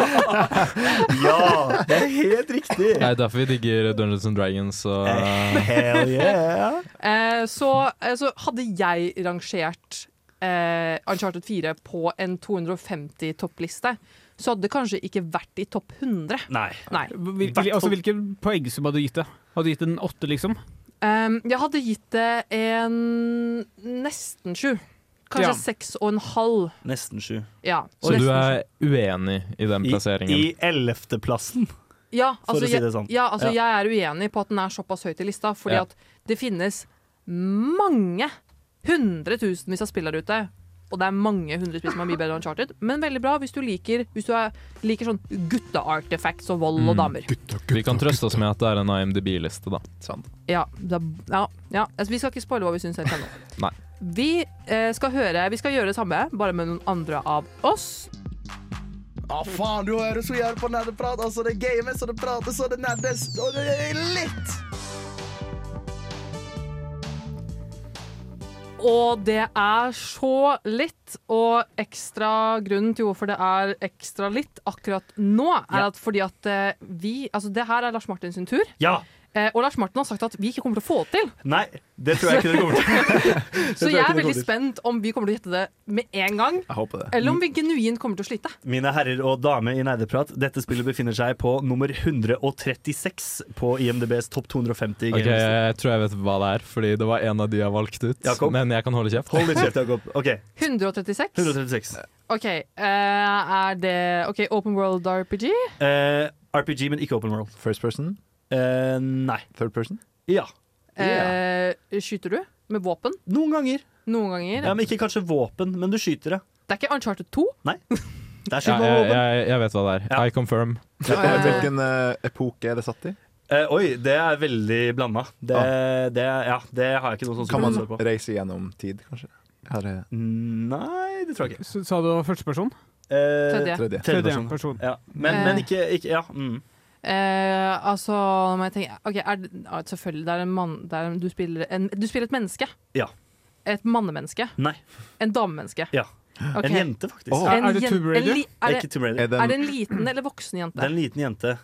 [SPEAKER 8] ja! Det er helt riktig.
[SPEAKER 4] Det er derfor vi digger Dungeons and Dragons og
[SPEAKER 8] Eh, Hell yeah.
[SPEAKER 3] Eh, så, eh, så hadde jeg rangert eh, Uncharted 4 på en 250-toppliste, så hadde det kanskje ikke vært i topp 100.
[SPEAKER 8] Nei.
[SPEAKER 3] Nei.
[SPEAKER 6] Hvil, altså, hvilken poengsum hadde du gitt det? Hadde du gitt den åtte, liksom?
[SPEAKER 3] Ehm, jeg hadde gitt det en nesten sju.
[SPEAKER 6] Ja.
[SPEAKER 3] Kanskje seks og en halv.
[SPEAKER 8] Nesten sju.
[SPEAKER 3] Ja,
[SPEAKER 4] Så du
[SPEAKER 3] nesten sju.
[SPEAKER 4] er uenig i den
[SPEAKER 8] I,
[SPEAKER 4] plasseringen?
[SPEAKER 8] i ellevteplassen.
[SPEAKER 3] ja,
[SPEAKER 8] for
[SPEAKER 3] altså,
[SPEAKER 8] å si det sånn.
[SPEAKER 3] Jeg, ja, altså,
[SPEAKER 8] Ja.
[SPEAKER 3] jeg er uenig på at den er såpass høyt i lista, fordi
[SPEAKER 8] Ja.
[SPEAKER 3] at det finnes mange hundretusenvis av spill der ute. Og det er mange hundre spill som er mye bedre enn Uncharted, men veldig bra hvis du liker, hvis du er, liker sånn gutta-artifacts og vold
[SPEAKER 4] Mm.
[SPEAKER 3] og damer.
[SPEAKER 4] Vi kan trøste oss med at det er en IMDb-liste, da.
[SPEAKER 7] Sant.
[SPEAKER 3] Ja, da, ja, ja. Altså, vi skal ikke spoile hva vi syns helt ennå.
[SPEAKER 4] Nei.
[SPEAKER 3] Vi, eh, skal høre, vi skal gjøre det samme, bare med noen andre av oss.
[SPEAKER 5] Ja, Ah, faen, du hører så jævlig på nerdeprat. Altså, det games, og det prates, og det nerdes. Og det er litt
[SPEAKER 3] Og det er så litt, og ekstra grunnen til hvorfor det er ekstra litt akkurat nå, er
[SPEAKER 8] Ja.
[SPEAKER 3] at fordi at eh, vi Altså, det her er Lars Martin sin tur,
[SPEAKER 8] Ja!
[SPEAKER 3] eh, og Lars Martin har sagt at vi ikke kommer til å få det til.
[SPEAKER 8] Nei, det tror jeg ikke det kommer til.
[SPEAKER 3] Så
[SPEAKER 8] tror jeg
[SPEAKER 3] jeg er
[SPEAKER 8] ikke det
[SPEAKER 3] veldig
[SPEAKER 8] kommer til.
[SPEAKER 3] spent om vi kommer til å gjette det med en gang,
[SPEAKER 7] Jeg håper det.
[SPEAKER 3] eller om vi genuint kommer til å slite.
[SPEAKER 8] Mine herrer og damer i nerdeprat, dette spillet befinner seg på nummer 136 på IMDbs topp 250
[SPEAKER 4] Ok,
[SPEAKER 8] games.
[SPEAKER 4] Jeg tror jeg vet hva det er, fordi det var en av de jeg valgte ut.
[SPEAKER 8] Jakob?
[SPEAKER 4] Men jeg kan holde kjeft.
[SPEAKER 8] Hold litt kjeft, Jakob. OK,
[SPEAKER 3] 136.
[SPEAKER 8] 136.
[SPEAKER 3] OK, eh, er det OK, Open World RPG?
[SPEAKER 8] Eh, RPG, men ikke Open World.
[SPEAKER 7] First person?
[SPEAKER 8] Eh, nei.
[SPEAKER 7] Third person?
[SPEAKER 8] Ja.
[SPEAKER 3] Eh, skyter du med våpen
[SPEAKER 8] Noen ganger.
[SPEAKER 3] noen ganger?
[SPEAKER 8] Ja, men Ikke kanskje våpen, men du skyter det.
[SPEAKER 3] Det er ikke Uncharted 2?
[SPEAKER 8] Det er
[SPEAKER 4] Ja,
[SPEAKER 8] skyting med
[SPEAKER 4] jeg,
[SPEAKER 8] våpen.
[SPEAKER 4] jeg, jeg vet hva det er.
[SPEAKER 8] Ja.
[SPEAKER 4] I confirm.
[SPEAKER 3] Ja.
[SPEAKER 7] Hvilken eh, epoke er det satt i?
[SPEAKER 8] Eh, oi, det er veldig blanda. Det, det, ja, det har jeg ikke noe sånn
[SPEAKER 7] Kan man
[SPEAKER 8] supervisor på.
[SPEAKER 7] reise gjennom tid, kanskje? Her er
[SPEAKER 8] Nei, det tror jeg ikke.
[SPEAKER 6] S- Sa du førsteperson?
[SPEAKER 8] Eh,
[SPEAKER 3] Tredje.
[SPEAKER 7] tredje.
[SPEAKER 8] Tredje person.
[SPEAKER 6] person.
[SPEAKER 8] Ja. Men, men ikke, ikke Ja. Mm.
[SPEAKER 3] Eh, altså, nå må jeg tenke Ok, er det, ja, Selvfølgelig, det er en mann det er, en- du, spiller en, du spiller et menneske.
[SPEAKER 8] Ja.
[SPEAKER 3] Et mannemenneske.
[SPEAKER 8] Nei.
[SPEAKER 3] En damemenneske.
[SPEAKER 8] Ja.
[SPEAKER 3] Ok.
[SPEAKER 8] En jente, faktisk.
[SPEAKER 7] Åh.
[SPEAKER 3] En
[SPEAKER 6] Er det
[SPEAKER 3] jen-
[SPEAKER 6] Tomb Raider?
[SPEAKER 3] en li- Er
[SPEAKER 8] Det er
[SPEAKER 3] det,
[SPEAKER 8] ikke Tomb Raider.
[SPEAKER 7] Er det
[SPEAKER 3] er
[SPEAKER 7] en
[SPEAKER 3] det en liten eller voksen jente?
[SPEAKER 8] Det er en liten jente.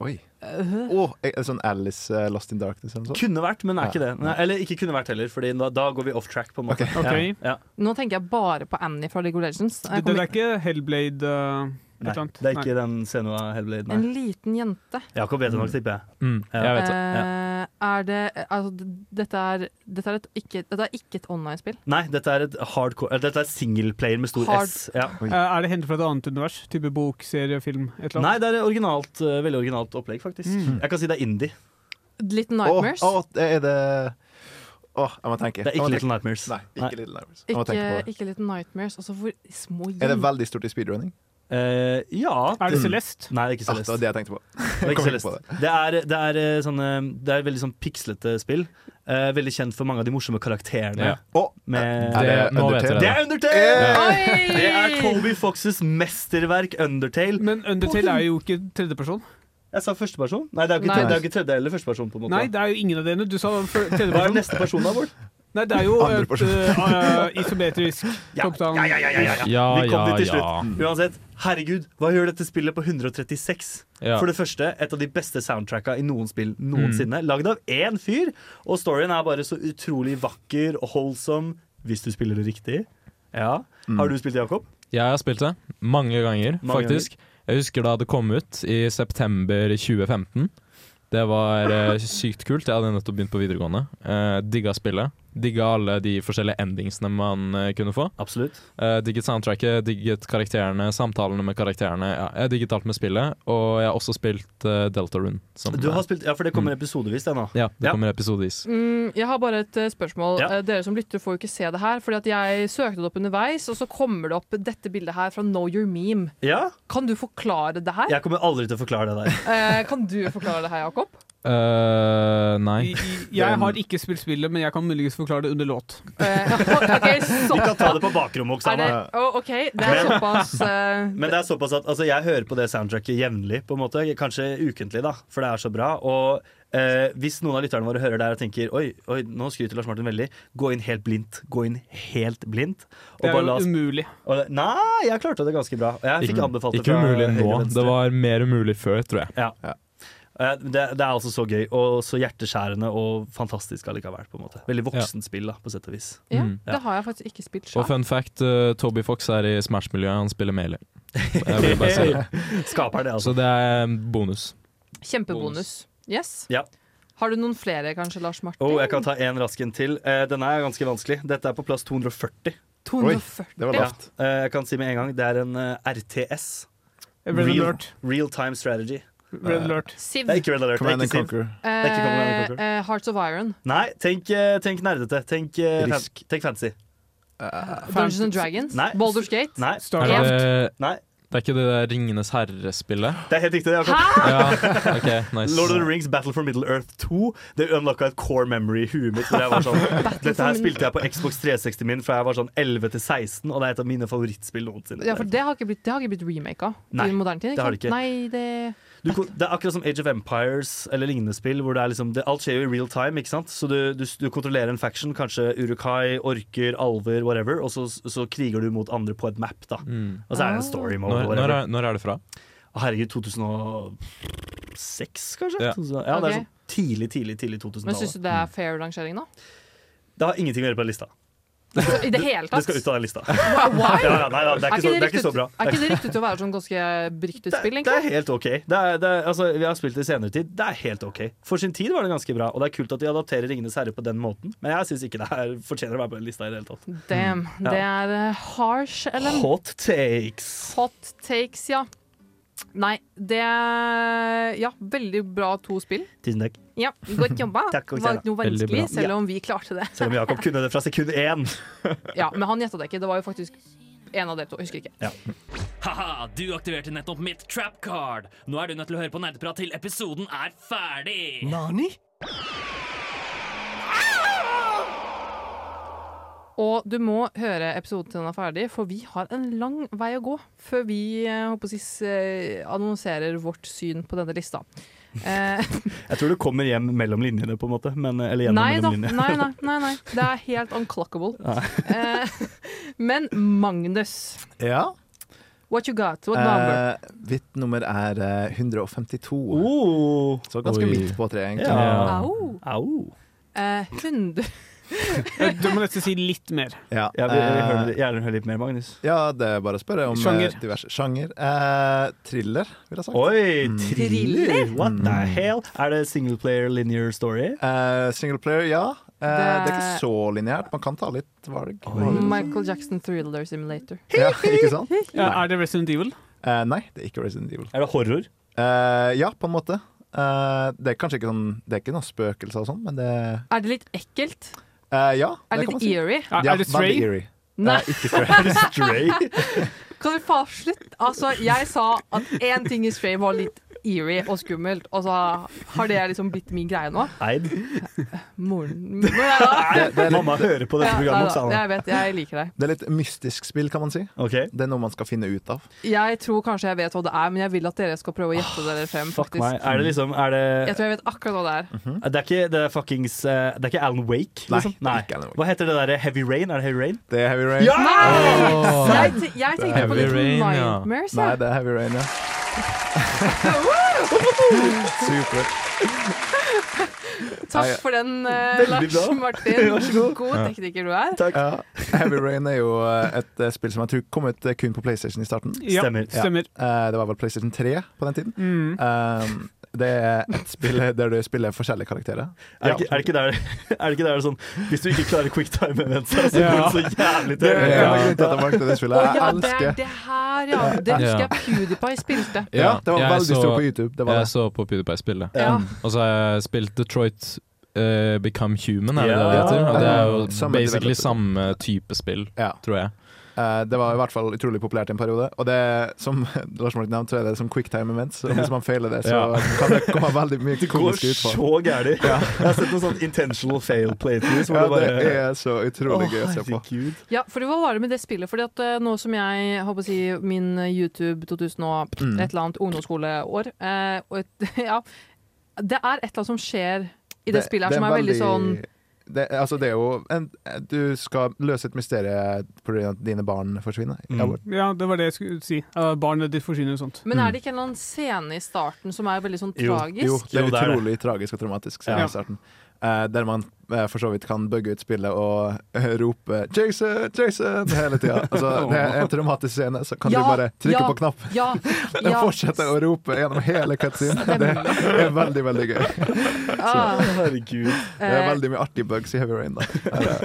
[SPEAKER 7] Oi.
[SPEAKER 3] Øh,
[SPEAKER 7] Åh, er det sånn Alice eh, Lost in Darkness eller noe sånt?
[SPEAKER 8] Kunne vært, men er ikke det. Nei, eller ikke kunne vært heller, Fordi da, da går vi off track, på en måte.
[SPEAKER 7] Ok.
[SPEAKER 6] Ok.
[SPEAKER 8] Ja, ja.
[SPEAKER 3] nå tenker jeg bare på Annie fra League of Legends. Jeg
[SPEAKER 6] Det, det
[SPEAKER 3] kommer-
[SPEAKER 6] er ikke Hellblade uh, et
[SPEAKER 8] Nei,
[SPEAKER 6] eller annet?
[SPEAKER 8] det er ikke den scenen av Hellblade, nei.
[SPEAKER 3] en liten jente.
[SPEAKER 8] Jakob vet det nok, tipper jeg.
[SPEAKER 4] Mm,
[SPEAKER 8] Ja.
[SPEAKER 4] jeg vet det.
[SPEAKER 3] Eh, er det Altså, d- dette er, dette er, et, ikke, dette er ikke et online-spill.
[SPEAKER 8] Nei, dette er et hardcore eh, Dette er singleplayer med stor
[SPEAKER 3] Hard-
[SPEAKER 8] S. Ja.
[SPEAKER 6] Eh, er det hentet fra et annet univers? Type bok, serie, film? Et eller
[SPEAKER 8] Nei,
[SPEAKER 6] annet?
[SPEAKER 8] det er et originalt, eh, veldig originalt opplegg, faktisk.
[SPEAKER 6] Mm.
[SPEAKER 8] Jeg kan si det er indie.
[SPEAKER 3] Little
[SPEAKER 7] Åh,
[SPEAKER 3] Nightmares.
[SPEAKER 7] åh, det er det Åh, jeg må tenke.
[SPEAKER 8] Det er
[SPEAKER 7] Jeg må
[SPEAKER 8] ikke
[SPEAKER 7] tenke.
[SPEAKER 8] Little Nightmares.
[SPEAKER 7] Nei,
[SPEAKER 8] Nei.
[SPEAKER 7] ikke Little Nightmares. Jeg må tenke på
[SPEAKER 3] Ikke,
[SPEAKER 7] det.
[SPEAKER 3] ikke Little Nightmares. Altså, hvor små
[SPEAKER 7] Er det
[SPEAKER 3] jenter
[SPEAKER 7] veldig stort i speedrunning?
[SPEAKER 8] Eh, ja
[SPEAKER 6] Er det Celeste?
[SPEAKER 8] Nei, det er ikke
[SPEAKER 7] Ah, det
[SPEAKER 8] Celeste.
[SPEAKER 7] var det jeg tenkte på.
[SPEAKER 8] Det er, ikke
[SPEAKER 7] Kommer ikke
[SPEAKER 8] Celeste. det er, det er, eh, sånne, det er veldig sånn pikslete spill. Eh, veldig kjent for mange av de morsomme karakterene.
[SPEAKER 4] Ja.
[SPEAKER 7] Åh,
[SPEAKER 8] Med,
[SPEAKER 7] Er
[SPEAKER 4] Det,
[SPEAKER 7] det
[SPEAKER 4] nå vet
[SPEAKER 7] Undertale?
[SPEAKER 4] dere
[SPEAKER 8] det
[SPEAKER 4] det.
[SPEAKER 8] er Undertale!
[SPEAKER 3] Oi!
[SPEAKER 8] Det er Colby Foxes mesterverk Undertale.
[SPEAKER 6] Men Undertale er jo ikke tredjeperson.
[SPEAKER 8] Jeg sa førsteperson. Nei, det er jo
[SPEAKER 3] Nei.
[SPEAKER 8] ikke, tredje- det er jo ikke tredje eller førsteperson. på en måte
[SPEAKER 6] Nei, det er jo ingen av delene. Du sa før-
[SPEAKER 8] Hva er
[SPEAKER 6] tredjeperson.
[SPEAKER 8] neste person da, Bård?
[SPEAKER 6] Nei, det er jo
[SPEAKER 7] Andre
[SPEAKER 6] et
[SPEAKER 7] person.
[SPEAKER 6] eh, eh, isometrisk top-down.
[SPEAKER 8] ja, ja, ja, ja, ja.
[SPEAKER 4] Ja,
[SPEAKER 8] Vi kom
[SPEAKER 4] ja,
[SPEAKER 8] dit til
[SPEAKER 4] ja.
[SPEAKER 8] slutt. Uansett, herregud, hva gjør dette spillet på 136?
[SPEAKER 4] ja.
[SPEAKER 8] For det første, et av de beste soundtracka i noen spill noensinne.
[SPEAKER 6] Mm.
[SPEAKER 8] Lagd av én fyr, og storyen er bare så utrolig vakker og holdsom hvis du spiller det riktig. Ja.
[SPEAKER 7] Mm.
[SPEAKER 8] Har du spilt det, Jakob?
[SPEAKER 4] Jeg har spilt det mange ganger,
[SPEAKER 8] Mange
[SPEAKER 4] faktisk. Jeg husker da det kom ut i september 2015. Det var eh, sykt kult. Jeg hadde nettopp begynt på videregående. Eh, digga spillet. Digga alle de forskjellige endingsene man eh, kunne få.
[SPEAKER 8] Absolutt.
[SPEAKER 4] Eh, digget soundtracket, digget karakterene, samtalene med karakterene. Ja, jeg digget alt med spillet, og jeg har også spilt eh, Deltarune. Som,
[SPEAKER 8] Du har spilt, ja, for det kommer
[SPEAKER 6] Mm.
[SPEAKER 8] episodevis, det nå.
[SPEAKER 4] eh, ja, det
[SPEAKER 8] Ja.
[SPEAKER 4] kommer episodevis.
[SPEAKER 3] Mm, jeg har bare et eh, spørsmål.
[SPEAKER 8] Ja.
[SPEAKER 3] Eh, Dere som lytter får jo ikke se det her, Fordi at jeg søkte det opp underveis, og så kommer det opp dette bildet her fra Know Your Meme.
[SPEAKER 8] Ja?
[SPEAKER 3] Kan du forklare det her?
[SPEAKER 8] Jeg kommer aldri til å forklare det der.
[SPEAKER 3] Eh, kan du forklare det her, Jakob?
[SPEAKER 4] Eh,
[SPEAKER 6] I-
[SPEAKER 4] nei.
[SPEAKER 6] i- Jeg har ikke spilt spillet, men jeg kan muligens forklare det under låt.
[SPEAKER 3] Eh, ok,
[SPEAKER 8] Vi kan ta
[SPEAKER 3] så,
[SPEAKER 8] det på bakrommet,
[SPEAKER 3] er det,
[SPEAKER 8] Oksana.
[SPEAKER 3] Å, OK, det er såpass eh,
[SPEAKER 8] Men det er såpass at altså, jeg hører på det soundtracket jevnlig, på en måte. Kanskje ukentlig, da, for det er så bra. Og eh, hvis noen av lytterne våre hører det her og tenker Oi, oi, nå skryter Lars Martin veldig, gå inn helt blindt. Gå inn helt blindt. Og
[SPEAKER 6] Det er
[SPEAKER 8] bare la
[SPEAKER 6] jo
[SPEAKER 8] oss
[SPEAKER 6] umulig.
[SPEAKER 8] og, Nei, jeg klarte det ganske bra. Jeg fikk
[SPEAKER 4] Ikke-
[SPEAKER 8] anbefalt det
[SPEAKER 4] Ikke umulig nå.
[SPEAKER 8] høyre venstre.
[SPEAKER 4] Det var mer umulig før, tror jeg.
[SPEAKER 8] Eh, det, det er altså så gøy, og så hjerteskjærende og fantastisk allikevel. på en måte Veldig voksent spill, da, på sett og vis.
[SPEAKER 3] ja,
[SPEAKER 4] Mm.
[SPEAKER 3] Det har jeg faktisk ikke spilt
[SPEAKER 4] Og
[SPEAKER 3] sjøl.
[SPEAKER 4] fun fact, eh, Toby Fox er i Smash-miljøet. Han spiller Melee. Jeg vil bare si det.
[SPEAKER 8] Skaper det, altså.
[SPEAKER 4] Så det er bonus.
[SPEAKER 3] Kjempebonus. Yes.
[SPEAKER 8] Ja.
[SPEAKER 3] Har du noen flere, kanskje, Lars Martin?
[SPEAKER 8] Oh, jeg kan ta en rask en til. Eh, denne er ganske vanskelig. Dette er på plass 240.
[SPEAKER 3] 240.
[SPEAKER 7] Det var
[SPEAKER 8] Ja.
[SPEAKER 7] lavt.
[SPEAKER 8] Eh, jeg kan si med en gang Det er en eh, RTS.
[SPEAKER 6] Red
[SPEAKER 8] Real.
[SPEAKER 6] alert.
[SPEAKER 8] Real time strategy.
[SPEAKER 6] Red alert.
[SPEAKER 3] Siv.
[SPEAKER 8] Det er ikke Red Alert. Det
[SPEAKER 7] Command and
[SPEAKER 8] er ikke Siv.
[SPEAKER 7] Conquer.
[SPEAKER 8] er ikke Command and Conquer.
[SPEAKER 3] eh, Hearts of Iron.
[SPEAKER 8] Nei, tenk, eh, tenk nerdete. Tenk, eh, fan,
[SPEAKER 7] Risk.
[SPEAKER 8] tenk fancy.
[SPEAKER 3] Dungeons and Dragons.
[SPEAKER 8] Nei.
[SPEAKER 3] Boulders Gate.
[SPEAKER 8] Nei.
[SPEAKER 4] Er
[SPEAKER 6] Starcraft.
[SPEAKER 4] det,
[SPEAKER 8] Nei.
[SPEAKER 4] Det er ikke det der Ringenes herre-spillet?
[SPEAKER 8] Det er helt riktig. det er akkurat-
[SPEAKER 4] Ja, ok, nice.
[SPEAKER 8] Ah! Lord of the Rings Battle for Middle Earth 2. Det unlocka et core memory i huet mitt. hvor Jeg var sånn, Dette her spilte jeg på Xbox 360 min fra jeg var sånn 11 til 16, og det er et av mine favorittspill noensinne.
[SPEAKER 3] Ja, for det har ikke blitt, det har ikke blitt remaka
[SPEAKER 8] Nei,
[SPEAKER 3] i moderne tid.
[SPEAKER 8] det har
[SPEAKER 3] sant?
[SPEAKER 8] det ikke.
[SPEAKER 3] Nei, det
[SPEAKER 8] Du, kon- det er akkurat som Age of Empires eller lignende spill, hvor det er liksom, det, alt skjer jo i real time. ikke sant? Så du, du, du kontrollerer en faction, kanskje Urukai, orker, alver, whatever, og så, så kriger du mot andre på et map. da.
[SPEAKER 4] Mm.
[SPEAKER 8] Og så er
[SPEAKER 3] Ah.
[SPEAKER 8] det en story mode.
[SPEAKER 4] Når,
[SPEAKER 8] og
[SPEAKER 4] når,
[SPEAKER 8] whatever.
[SPEAKER 4] er, når er det fra?
[SPEAKER 8] Å, Herregud, 2006, kanskje?
[SPEAKER 4] Ja.
[SPEAKER 8] 2000 ja det er
[SPEAKER 3] Ok.
[SPEAKER 8] sånn tidlig, tidlig, tidlig
[SPEAKER 3] Men syns
[SPEAKER 8] 2000-tallet.
[SPEAKER 3] du det er fair rangering, da?
[SPEAKER 8] Det har ingenting å gjøre på den lista.
[SPEAKER 3] Så, I det hele
[SPEAKER 8] Det
[SPEAKER 3] tatt?
[SPEAKER 8] skal ut av den lista.
[SPEAKER 3] Why?
[SPEAKER 8] Ja, ja, nei, da, det, er ikke så, det er ikke så bra.
[SPEAKER 3] er ikke det riktig til å være sånn ganske beryktet
[SPEAKER 8] Det,
[SPEAKER 3] spill,
[SPEAKER 8] det er
[SPEAKER 3] egentlig?
[SPEAKER 8] helt OK. Det er, det er, altså, vi har spilt det i senere tid. Det er helt OK. For sin tid var det ganske bra, og det er kult at de adapterer Ringenes herre på den måten, men jeg syns ikke det her fortjener å være på den lista i det hele tatt.
[SPEAKER 3] Damn. Det er eh, harsh, eller?
[SPEAKER 8] Mm, Hot takes.
[SPEAKER 3] Hot takes, ja. Nei, det er Ja, veldig bra to spill.
[SPEAKER 8] Tusen takk.
[SPEAKER 3] Ja, godt jobba.
[SPEAKER 8] Takk, Oksana.
[SPEAKER 3] Var ikke noe
[SPEAKER 4] Veldig
[SPEAKER 3] vanskelig,
[SPEAKER 4] bra.
[SPEAKER 3] selv om vi klarte det.
[SPEAKER 8] Selv om Jakob kunne det fra sekund én.
[SPEAKER 3] Ja, Men han gjetta det ikke. Det var jo faktisk en av dere to. jeg Husker ikke.
[SPEAKER 2] Haha, du aktiverte nettopp mitt trap card. Nå er du nødt til å høre på nerdeprat til episoden er ferdig.
[SPEAKER 8] Nani?
[SPEAKER 3] Og du må høre episoden til den er ferdig, for vi har en lang vei å gå før vi eh, håper å si, s- eh, annonserer vårt syn på denne lista. Eh,
[SPEAKER 8] Jeg tror du kommer hjem mellom linjene, på en måte. Men, eh, eller gjennom
[SPEAKER 3] nei da,
[SPEAKER 8] mellom
[SPEAKER 3] nei,
[SPEAKER 8] linjene.
[SPEAKER 3] nei, nei, nei. Det er helt unclockable. Eh, men Magnus,
[SPEAKER 7] Ja.
[SPEAKER 3] what you got?
[SPEAKER 7] Eh,
[SPEAKER 3] What number?
[SPEAKER 7] Hvitt nummer er eh, 152.
[SPEAKER 8] Oh.
[SPEAKER 7] Så ganske
[SPEAKER 4] Oi.
[SPEAKER 7] midt på treet, egentlig.
[SPEAKER 8] Ja.
[SPEAKER 3] Au.
[SPEAKER 8] Au.
[SPEAKER 3] Eh, 100
[SPEAKER 6] Du må nesten si litt mer.
[SPEAKER 7] Ja.
[SPEAKER 8] Jeg vil, jeg vil
[SPEAKER 7] eh,
[SPEAKER 8] høre, gjerne høre litt mer, Magnus.
[SPEAKER 7] Ja, det er bare å spørre om eh,
[SPEAKER 6] Sjanger.
[SPEAKER 7] diverse sjanger. Eh, thriller, vil jeg ha sagt.
[SPEAKER 8] Oi,
[SPEAKER 7] Mm.
[SPEAKER 8] thriller? What
[SPEAKER 3] Mm.
[SPEAKER 8] the hell? Er det single player linear story?
[SPEAKER 7] Eh, single player, ja. Eh, det...
[SPEAKER 3] Det-
[SPEAKER 7] er ikke så lineært. Man kan ta litt valg.
[SPEAKER 3] Michael Jackson Thriller Simulator.
[SPEAKER 7] Ja, ikke sant?
[SPEAKER 6] Ja,
[SPEAKER 7] Nei.
[SPEAKER 6] er det Resident Evil?
[SPEAKER 7] Eh, nei, det er ikke Resident Evil.
[SPEAKER 8] Er det horror?
[SPEAKER 7] Eh, ja, på en måte. Eh, det er kanskje ikke sånn Det er ikke noen spøkelser og sånn, men det
[SPEAKER 3] Er det litt ekkelt?
[SPEAKER 7] eh, Ja,
[SPEAKER 3] Er
[SPEAKER 7] det
[SPEAKER 3] det
[SPEAKER 7] kan man
[SPEAKER 3] litt
[SPEAKER 7] si.
[SPEAKER 3] eerie?
[SPEAKER 6] Er,
[SPEAKER 7] Ja,
[SPEAKER 6] er det
[SPEAKER 7] veldig
[SPEAKER 6] Stray?
[SPEAKER 7] eerie.
[SPEAKER 3] Nei,
[SPEAKER 7] Eh, ikke Stray.
[SPEAKER 8] Er det Stray?
[SPEAKER 3] kan du faen slutte? Altså, jeg sa at én ting i Stray var litt eerie og skummelt, og så har det liksom blitt min greie nå.
[SPEAKER 8] Eid.
[SPEAKER 3] Moren Nei, da.
[SPEAKER 8] Nei, Mamma hører på
[SPEAKER 3] Ja, nei,
[SPEAKER 8] dette programmet,
[SPEAKER 3] da.
[SPEAKER 8] sa han.
[SPEAKER 3] Jeg vet, jeg liker deg.
[SPEAKER 7] Det er litt mystisk spill, kan man si.
[SPEAKER 8] Ok.
[SPEAKER 7] Det er noe man skal finne ut av.
[SPEAKER 3] Jeg tror kanskje jeg vet hva det er, men jeg vil at dere skal prøve å gjette dere frem.
[SPEAKER 8] Ah, Fuck
[SPEAKER 3] faktisk.
[SPEAKER 8] meg. Er det liksom er det,
[SPEAKER 3] Jeg tror jeg vet akkurat hva det er.
[SPEAKER 8] det er ikke det er fuckings eh, Det er ikke Alan Wake?
[SPEAKER 7] Nei,
[SPEAKER 8] Liksom?
[SPEAKER 7] det er ikke Alan Wake.
[SPEAKER 8] Hva heter det derre Heavy Rain? Er det Heavy Rain?
[SPEAKER 7] Det er Heavy Rain.
[SPEAKER 3] Nei!
[SPEAKER 4] Åh.
[SPEAKER 3] Jeg, te- jeg tenkte på
[SPEAKER 4] Heavy
[SPEAKER 3] litt
[SPEAKER 4] Rain, ja.
[SPEAKER 3] Nightmares.
[SPEAKER 7] Nei,
[SPEAKER 3] jeg.
[SPEAKER 7] det er Heavy Rain, ja. Supert.
[SPEAKER 3] Takk
[SPEAKER 7] Nei, ja.
[SPEAKER 3] for den, eh,
[SPEAKER 8] Veldig
[SPEAKER 3] Lars
[SPEAKER 8] bra.
[SPEAKER 3] Martin.
[SPEAKER 8] Vær så god.
[SPEAKER 3] tekniker du er.
[SPEAKER 7] Ja, Heavy Rain er jo eh, et eh, spill som jeg tror kom ut eh, kun på PlayStation i starten.
[SPEAKER 6] Ja,
[SPEAKER 8] Stemmer.
[SPEAKER 7] Ja.
[SPEAKER 6] stemmer.
[SPEAKER 7] Eh, Det var vel PlayStation 3 på den tiden.
[SPEAKER 6] Mm.
[SPEAKER 7] Um, det er et spill der du spiller forskjellige karakterer.
[SPEAKER 8] Er det, ikke, er, det ikke der, er det ikke der sånn Hvis du ikke klarer quick time events, så går
[SPEAKER 6] Ja.
[SPEAKER 8] det så jævlig
[SPEAKER 7] Det
[SPEAKER 8] til
[SPEAKER 7] er en av grunnene til at jeg valgte det
[SPEAKER 3] Å
[SPEAKER 7] spillet. Jeg
[SPEAKER 3] ja, det er
[SPEAKER 7] elsker
[SPEAKER 3] det her, ja. Det husker jeg PewDiePie spilte.
[SPEAKER 7] Ja, det var
[SPEAKER 4] Jeg
[SPEAKER 7] veldig
[SPEAKER 4] så-
[SPEAKER 7] stort på YouTube. Det var
[SPEAKER 4] Jeg
[SPEAKER 7] det.
[SPEAKER 4] så på PewDiePie spille.
[SPEAKER 3] Ja.
[SPEAKER 4] Og så har jeg spilt Detroit eh, Become Human, er det det det
[SPEAKER 8] Ja.
[SPEAKER 4] heter? Og det er jo
[SPEAKER 7] Samme
[SPEAKER 4] basically
[SPEAKER 7] developer.
[SPEAKER 4] samme type spill,
[SPEAKER 7] Ja.
[SPEAKER 4] tror jeg.
[SPEAKER 7] Eh, det var i hvert fall utrolig populært i en periode. Og det som Lars Martin nevnte, så er det som quick time events. Og hvis man feiler det, så
[SPEAKER 4] Ja.
[SPEAKER 7] kan det komme veldig mye
[SPEAKER 8] Det går
[SPEAKER 7] komisk ut på.
[SPEAKER 8] så gærent. Jeg har sett noen sånn intentional fail playthroughs hvor
[SPEAKER 7] Ja,
[SPEAKER 8] det bare
[SPEAKER 7] det er så utrolig gøy å se på.
[SPEAKER 8] herregud.
[SPEAKER 3] Ja, for hva var det med det spillet? Fordi at eh, nå som jeg, håper å si, min eh, YouTube 2000 og et
[SPEAKER 7] Mm.
[SPEAKER 3] eller annet ungdomsskoleår eh, og et, ja, Det er et eller annet som skjer i det, spillet her som er veldig, sånn
[SPEAKER 7] det, altså det er jo en, Du skal løse et mysterium pga. at dine barn forsvinner.
[SPEAKER 8] Mm.
[SPEAKER 7] Eller-
[SPEAKER 6] Ja, det var det jeg skulle si. Uh, Barnet ditt forsvinner og sånt.
[SPEAKER 3] Men er det ikke en eller annen scene i starten som er veldig sånn
[SPEAKER 8] Jo,
[SPEAKER 3] tragisk?
[SPEAKER 7] Mm. Jo, det er
[SPEAKER 8] Jo, det er det.
[SPEAKER 7] utrolig tragisk og traumatisk.
[SPEAKER 8] Ja.
[SPEAKER 7] Ja. I starten Eh, Der man eh, for så vidt kan bugge ut spillet og eh, rope 'Jason! Jason!' hele tida. Altså, det er en traumatisk scene, så kan
[SPEAKER 3] Ja,
[SPEAKER 7] du bare trykke
[SPEAKER 3] ja.
[SPEAKER 7] på knappen.
[SPEAKER 3] Ja,
[SPEAKER 7] Den
[SPEAKER 3] ja.
[SPEAKER 7] fortsetter å rope gjennom hele cutscenen. Det er veldig veldig gøy.
[SPEAKER 3] Ah,
[SPEAKER 8] Herregud.
[SPEAKER 7] Det er
[SPEAKER 3] eh,
[SPEAKER 7] veldig mye artige bugs i Heavy Rain. da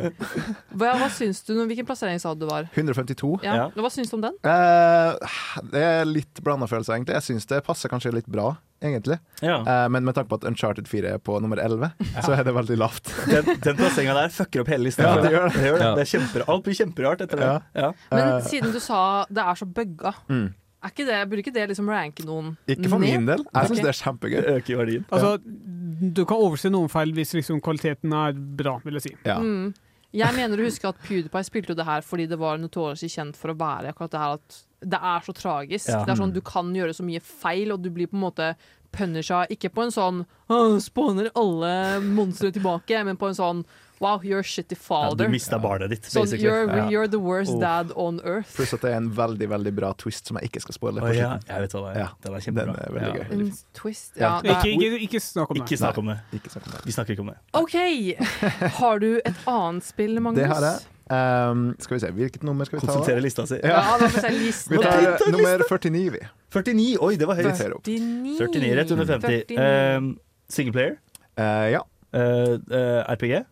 [SPEAKER 3] hva, hva syns du? Hvilken plassering sa du det var?
[SPEAKER 7] 152.
[SPEAKER 3] Ja.
[SPEAKER 8] Ja.
[SPEAKER 3] Hva syns du om den?
[SPEAKER 7] Eh, det er litt blanda følelser, egentlig. Jeg syns det passer kanskje litt bra, egentlig.
[SPEAKER 8] Ja.
[SPEAKER 7] Eh, men med tanke på at Uncharted 4 er på nummer 11, så er det veldig lavt.
[SPEAKER 8] Den, den plasseringa der fucker opp hele lista.
[SPEAKER 7] Ja, det gjør det.
[SPEAKER 8] Det gjør det.
[SPEAKER 4] Ja.
[SPEAKER 8] Det er kjemper, alt blir kjemperart etter det. Ja.
[SPEAKER 3] Men
[SPEAKER 7] Eh,
[SPEAKER 3] siden du sa det er så bugga,
[SPEAKER 7] Mm.
[SPEAKER 3] Er ikke det, burde ikke det liksom ranke noen
[SPEAKER 7] Ikke for
[SPEAKER 3] ned?
[SPEAKER 7] min del. Jeg syns
[SPEAKER 3] Ok.
[SPEAKER 7] det er kjempegøy.
[SPEAKER 8] Det øker verdien.
[SPEAKER 6] Altså, Du kan overse noen feil hvis liksom kvaliteten er bra, vil jeg si.
[SPEAKER 7] Ja.
[SPEAKER 3] Mm. Jeg mener å huske at PewDiePie spilte jo det her fordi det var notorisk kjent for å være akkurat det her at det er så tragisk.
[SPEAKER 8] Ja.
[SPEAKER 3] Det er sånn Du kan gjøre så mye feil, og du blir på en måte punisha. Ikke på en sånn «Åh, spawner alle monstre tilbake, men på en sånn Wow, you're a shitty
[SPEAKER 8] Ja, du
[SPEAKER 3] father.
[SPEAKER 8] mista barnet ditt,
[SPEAKER 3] sånn,
[SPEAKER 8] basically.
[SPEAKER 3] you're,
[SPEAKER 7] Ja.
[SPEAKER 3] you're the worst
[SPEAKER 8] Oh.
[SPEAKER 3] dad on earth.
[SPEAKER 7] Pluss at det er en veldig veldig bra twist som jeg ikke skal spoile.
[SPEAKER 8] Å,
[SPEAKER 7] på
[SPEAKER 8] ja,
[SPEAKER 7] slutten.
[SPEAKER 8] jeg vet hva det er.
[SPEAKER 7] Ja,
[SPEAKER 8] Den er
[SPEAKER 7] Den
[SPEAKER 8] kjempebra.
[SPEAKER 7] er veldig
[SPEAKER 8] Ja.
[SPEAKER 7] gøy.
[SPEAKER 3] En twist.
[SPEAKER 7] Ja.
[SPEAKER 3] Ja, det er-
[SPEAKER 6] Ikke, ikke, ikke snakk om det.
[SPEAKER 8] Ikke snakk om det.
[SPEAKER 7] Ikke snakk om det.
[SPEAKER 8] Vi snakker ikke om det.
[SPEAKER 3] OK! Har du et annet spill, Magnus?
[SPEAKER 7] Det har jeg. Ehm, skal vi se, hvilket nummer skal vi ta?
[SPEAKER 8] Konsultere lista si.
[SPEAKER 3] Ja,
[SPEAKER 7] Ja.
[SPEAKER 3] hva med seg liste?
[SPEAKER 7] Vi tar eh, nummer 49, vi.
[SPEAKER 8] 49! Oi, det var høyt.
[SPEAKER 7] Ser opp.
[SPEAKER 3] 49.
[SPEAKER 8] 49, rett under 50.
[SPEAKER 3] 49.
[SPEAKER 8] Ehm, single player.
[SPEAKER 7] Eh, ja.
[SPEAKER 8] Eh, eh, RPG.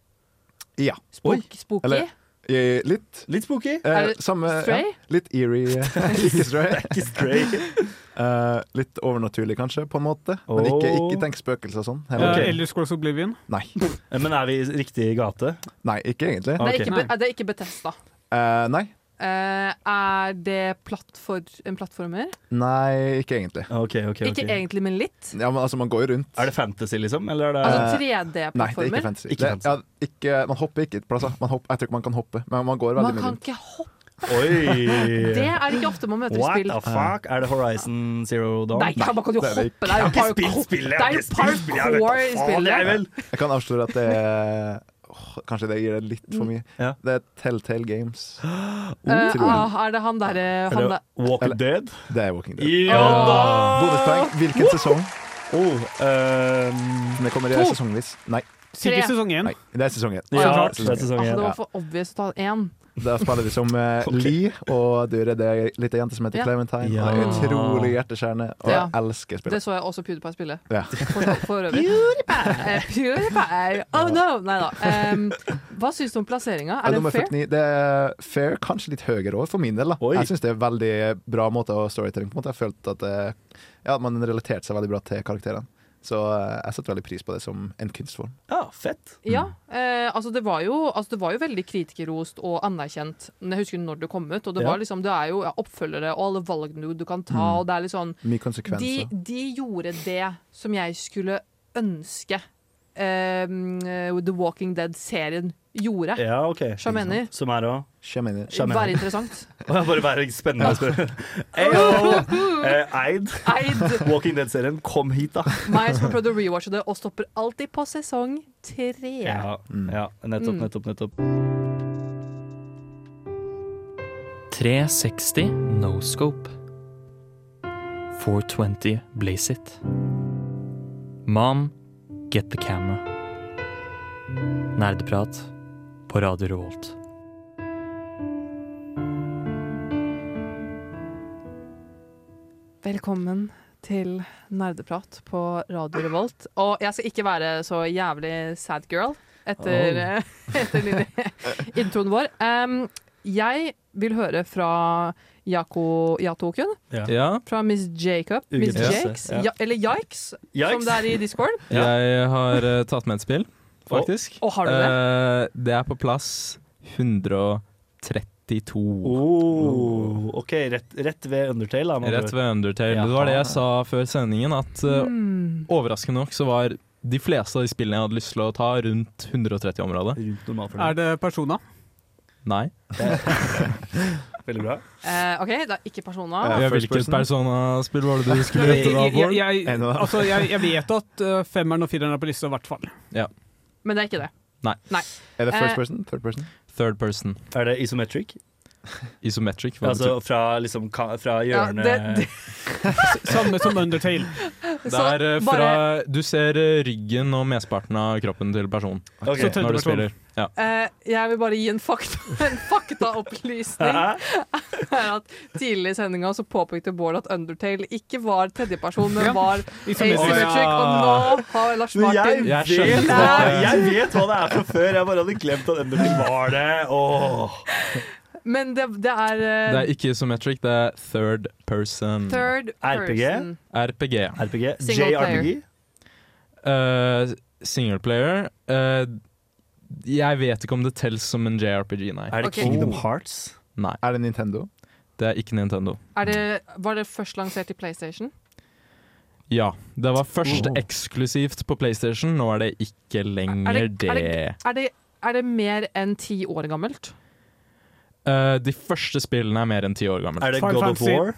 [SPEAKER 7] ja.
[SPEAKER 3] Spook, spooky?
[SPEAKER 7] Eller- Eh, Litt
[SPEAKER 8] Litt spooky.
[SPEAKER 7] eh,
[SPEAKER 3] Er det
[SPEAKER 7] samme ja.
[SPEAKER 3] Stray?
[SPEAKER 7] Litt eerie. ikke stray.
[SPEAKER 8] Ikke stray.
[SPEAKER 7] Eh, litt overnaturlig, kanskje, på en måte. Men ikke, ikke tenk spøkelser og sånn.
[SPEAKER 6] Eh,
[SPEAKER 7] Heller.
[SPEAKER 8] Ok.
[SPEAKER 6] Elder Scrolls Oblivion.
[SPEAKER 7] Nei.
[SPEAKER 8] Eh, Men er vi i riktig gate?
[SPEAKER 7] Nei, ikke egentlig.
[SPEAKER 3] Det er
[SPEAKER 8] Ah, Ok.
[SPEAKER 3] ikke, be- det er ikke Bethesda.
[SPEAKER 7] Eh, nei.
[SPEAKER 3] Eh, er det plattfor, en plattformer?
[SPEAKER 7] nei, ikke egentlig.
[SPEAKER 8] Ok, ok, ok.
[SPEAKER 3] Ikke egentlig, men litt.
[SPEAKER 7] Ja, men altså, man går jo rundt.
[SPEAKER 8] Er det fantasy, liksom? Eller er det
[SPEAKER 3] Altså
[SPEAKER 7] Eh, Nei, det er ikke
[SPEAKER 3] 3D-plattformer.
[SPEAKER 7] fantasy.
[SPEAKER 8] Ikke
[SPEAKER 7] det,
[SPEAKER 8] fantasy.
[SPEAKER 7] Ja, ikke, man hopper ikke plasser. Man hopper, jeg tror ikke man kan hoppe, men man går veldig
[SPEAKER 3] Man
[SPEAKER 7] mye
[SPEAKER 3] kan
[SPEAKER 7] rundt.
[SPEAKER 3] ikke hoppe.
[SPEAKER 8] Oi!
[SPEAKER 3] Det er ikke ofte man møter i
[SPEAKER 8] What
[SPEAKER 3] spill.
[SPEAKER 8] the fuck? Er det Horizon Zero Dawn?
[SPEAKER 3] Nei, man kan jo
[SPEAKER 7] det
[SPEAKER 3] hoppe.
[SPEAKER 7] er det
[SPEAKER 3] Det er jo
[SPEAKER 8] Ikke
[SPEAKER 3] parkour.
[SPEAKER 8] spill spillet!
[SPEAKER 3] Det er jo parkour i
[SPEAKER 8] Jeg
[SPEAKER 3] spillet.
[SPEAKER 8] vel
[SPEAKER 7] Jeg kan avsløre at det er åh, Kanskje det gir det litt for mye.
[SPEAKER 8] Ja.
[SPEAKER 7] Det er Telltale Games.
[SPEAKER 3] Eh,
[SPEAKER 7] Utrolig.
[SPEAKER 3] ah, er det han derre han der,
[SPEAKER 8] Walk
[SPEAKER 7] Eller-
[SPEAKER 8] Dead?
[SPEAKER 7] Det er Walking Dead.
[SPEAKER 8] Ja da!
[SPEAKER 7] Bonuspoeng. Hvilken sesong?
[SPEAKER 8] Oh, ehm,
[SPEAKER 7] Det kommer i
[SPEAKER 3] To.
[SPEAKER 7] sesongvis. Nei,
[SPEAKER 6] Sikkert
[SPEAKER 3] Tre.
[SPEAKER 6] sesong én.
[SPEAKER 7] nei, det er sesong én.
[SPEAKER 8] ja,
[SPEAKER 7] Sesong
[SPEAKER 8] det er
[SPEAKER 7] én.
[SPEAKER 8] sesong
[SPEAKER 3] Ah, Det
[SPEAKER 8] én.
[SPEAKER 3] var for obvious å ta én.
[SPEAKER 7] Da spiller vi som eh,
[SPEAKER 8] Ok.
[SPEAKER 7] Lee, og du er det ei lita jente som heter
[SPEAKER 3] Ja.
[SPEAKER 7] Clementine.
[SPEAKER 8] Ja.
[SPEAKER 7] Hun er utrolig hjerteskjærende, og
[SPEAKER 3] Ja.
[SPEAKER 7] jeg elsker
[SPEAKER 3] Det
[SPEAKER 7] spillet.
[SPEAKER 3] så jeg også PewDiePie spille.
[SPEAKER 7] Ja.
[SPEAKER 3] For, for øvrig. PewDiePie! Eh, PewDiePie. Oh no! Nei da. Em, hva syns du om plasseringa? Er den
[SPEAKER 7] Nummer
[SPEAKER 3] fair?
[SPEAKER 7] 49, det er fair, kanskje litt høyere òg, for min del. da
[SPEAKER 8] Oi.
[SPEAKER 7] Jeg syns det er veldig bra måte å storytelling på. en måte Jeg følte at eh, ja, at man relaterte seg veldig bra til karakterene. Så eh, jeg setter veldig pris på det som en kunstform.
[SPEAKER 8] Ja, Ah, fett.
[SPEAKER 3] Ja. Eh, altså det, var jo, altså det var jo veldig kritikerrost og anerkjent. Men Jeg husker når det kom ut. Og det,
[SPEAKER 8] Ja. Mm.
[SPEAKER 3] var liksom, det er jo ja, oppfølgere og alle valgene du, du kan ta. Og det er litt sånn
[SPEAKER 7] Mye
[SPEAKER 3] de,
[SPEAKER 7] konsekvenser.
[SPEAKER 3] de gjorde det som jeg skulle ønske eh, The Walking Dead-serien gjorde.
[SPEAKER 8] Ja, ok.
[SPEAKER 3] Sjamener.
[SPEAKER 8] Som er å
[SPEAKER 7] Shamanier.
[SPEAKER 8] Sjarmerende.
[SPEAKER 3] Være interessant.
[SPEAKER 8] Å, ja, Bare være spennende. spennende. Eyo! Eh, Eid.
[SPEAKER 3] Eid!
[SPEAKER 8] Walking Dead-serien, kom hit, da!
[SPEAKER 3] Meg som har prøvd å rewatche det, og stopper alltid på sesong tre.
[SPEAKER 8] Ja,
[SPEAKER 7] Mm.
[SPEAKER 8] ja nettopp,
[SPEAKER 3] Mm.
[SPEAKER 8] nettopp, nettopp.
[SPEAKER 2] 360 no scope. 420 blaze it. Mom, get the camera. Nerdeprat på Radio Revolt.
[SPEAKER 3] Velkommen til nerdeprat på Radio Revolt. Og jeg skal ikke være så jævlig sad girl etter, etter lille introen vår. Um, jeg vil høre fra Yako Yatokun,
[SPEAKER 4] Ja,
[SPEAKER 3] fra Miss Jacob. Miss
[SPEAKER 8] Ugepresse,
[SPEAKER 3] Jakes,
[SPEAKER 8] ja.
[SPEAKER 3] ja, eller Yikes, som
[SPEAKER 8] Yikes!
[SPEAKER 3] det er i Discord.
[SPEAKER 4] jeg har eh, tatt med et spill, faktisk.
[SPEAKER 3] Og har du det?
[SPEAKER 4] Eh, det er på plass 132.
[SPEAKER 8] Oh, OK, rett, rett ved Undertale. Da, med andre
[SPEAKER 4] Rett
[SPEAKER 8] ord.
[SPEAKER 4] ved Undertale. Det var det jeg sa før sendingen, at eh,
[SPEAKER 3] Mm.
[SPEAKER 4] overraskende nok så var de fleste av de spillene jeg hadde lyst til å ta, rundt 130-området.
[SPEAKER 8] Rundt normal for
[SPEAKER 6] Er det Persona?
[SPEAKER 4] Nei.
[SPEAKER 8] Veldig bra.
[SPEAKER 3] Eh, OK, det er ikke Persona.
[SPEAKER 7] Ja,
[SPEAKER 4] Ja,
[SPEAKER 7] first
[SPEAKER 4] Hvilket
[SPEAKER 7] person.
[SPEAKER 4] Persona-spill var det du skulle
[SPEAKER 6] Jeg,
[SPEAKER 4] gjette da,
[SPEAKER 6] jeg,
[SPEAKER 4] Bård?
[SPEAKER 6] jeg,
[SPEAKER 7] En av dem.
[SPEAKER 6] altså, jeg, jeg vet at eh, femmeren og fireren er på lista, i hvert fall.
[SPEAKER 3] Men det er ikke det.
[SPEAKER 7] Er det
[SPEAKER 3] Eh,
[SPEAKER 7] first person? Third person?
[SPEAKER 4] Third person.
[SPEAKER 8] Er det isometric?
[SPEAKER 4] Isometric. Hva
[SPEAKER 8] Altså fra, liksom, ka- fra
[SPEAKER 3] Ja,
[SPEAKER 8] hjørnet
[SPEAKER 3] det- det-
[SPEAKER 6] Samme som Undertale.
[SPEAKER 4] betyr det?
[SPEAKER 3] Så
[SPEAKER 4] er eh, fra
[SPEAKER 3] bare-
[SPEAKER 4] Du ser eh, ryggen og mesteparten av kroppen til personen
[SPEAKER 8] Ok.
[SPEAKER 6] Så tø- Tredje
[SPEAKER 4] når du
[SPEAKER 6] person.
[SPEAKER 4] spiller. Ja.
[SPEAKER 3] Eh, jeg vil bare gi en, fakta, en faktaopplysning.
[SPEAKER 8] Hæ?
[SPEAKER 3] er at Tidligere i sendinga så påpekte Bård at Undertale ikke var tredjeperson, men
[SPEAKER 6] Ja.
[SPEAKER 3] var
[SPEAKER 6] Isometrisk.
[SPEAKER 3] asymmetric. Og nå har Lars
[SPEAKER 8] Men
[SPEAKER 3] Martin
[SPEAKER 4] Jeg
[SPEAKER 8] jeg, vet,
[SPEAKER 4] skjønner
[SPEAKER 8] hva-
[SPEAKER 4] det.
[SPEAKER 8] jeg vet hva det er fra før, jeg bare hadde glemt at Undertale var det. Åh.
[SPEAKER 3] Men det, det er eh,
[SPEAKER 4] Det er ikke isometric, det er third person.
[SPEAKER 3] third
[SPEAKER 8] RPG?
[SPEAKER 3] person.
[SPEAKER 4] RPG.
[SPEAKER 8] RPG?
[SPEAKER 3] Single player.
[SPEAKER 8] JRPG?
[SPEAKER 4] Uh, Singleplayer uh, Jeg vet ikke om det telles som en JRPG, nei.
[SPEAKER 8] Er det
[SPEAKER 3] Ok.
[SPEAKER 8] Kingdom Hearts?
[SPEAKER 4] nei.
[SPEAKER 7] Er det Nintendo?
[SPEAKER 4] Det er ikke Nintendo.
[SPEAKER 3] Er det, var det først lansert i PlayStation?
[SPEAKER 4] Ja. Det var først eksklusivt på PlayStation, nå er det ikke lenger
[SPEAKER 3] Er det-
[SPEAKER 4] det.
[SPEAKER 3] er Er det, er det mer enn ti år gammelt?
[SPEAKER 4] Eh, de første spillene er mer enn ti år gamle.
[SPEAKER 8] Er det
[SPEAKER 6] Final
[SPEAKER 8] God of
[SPEAKER 6] Fantasy.
[SPEAKER 8] War?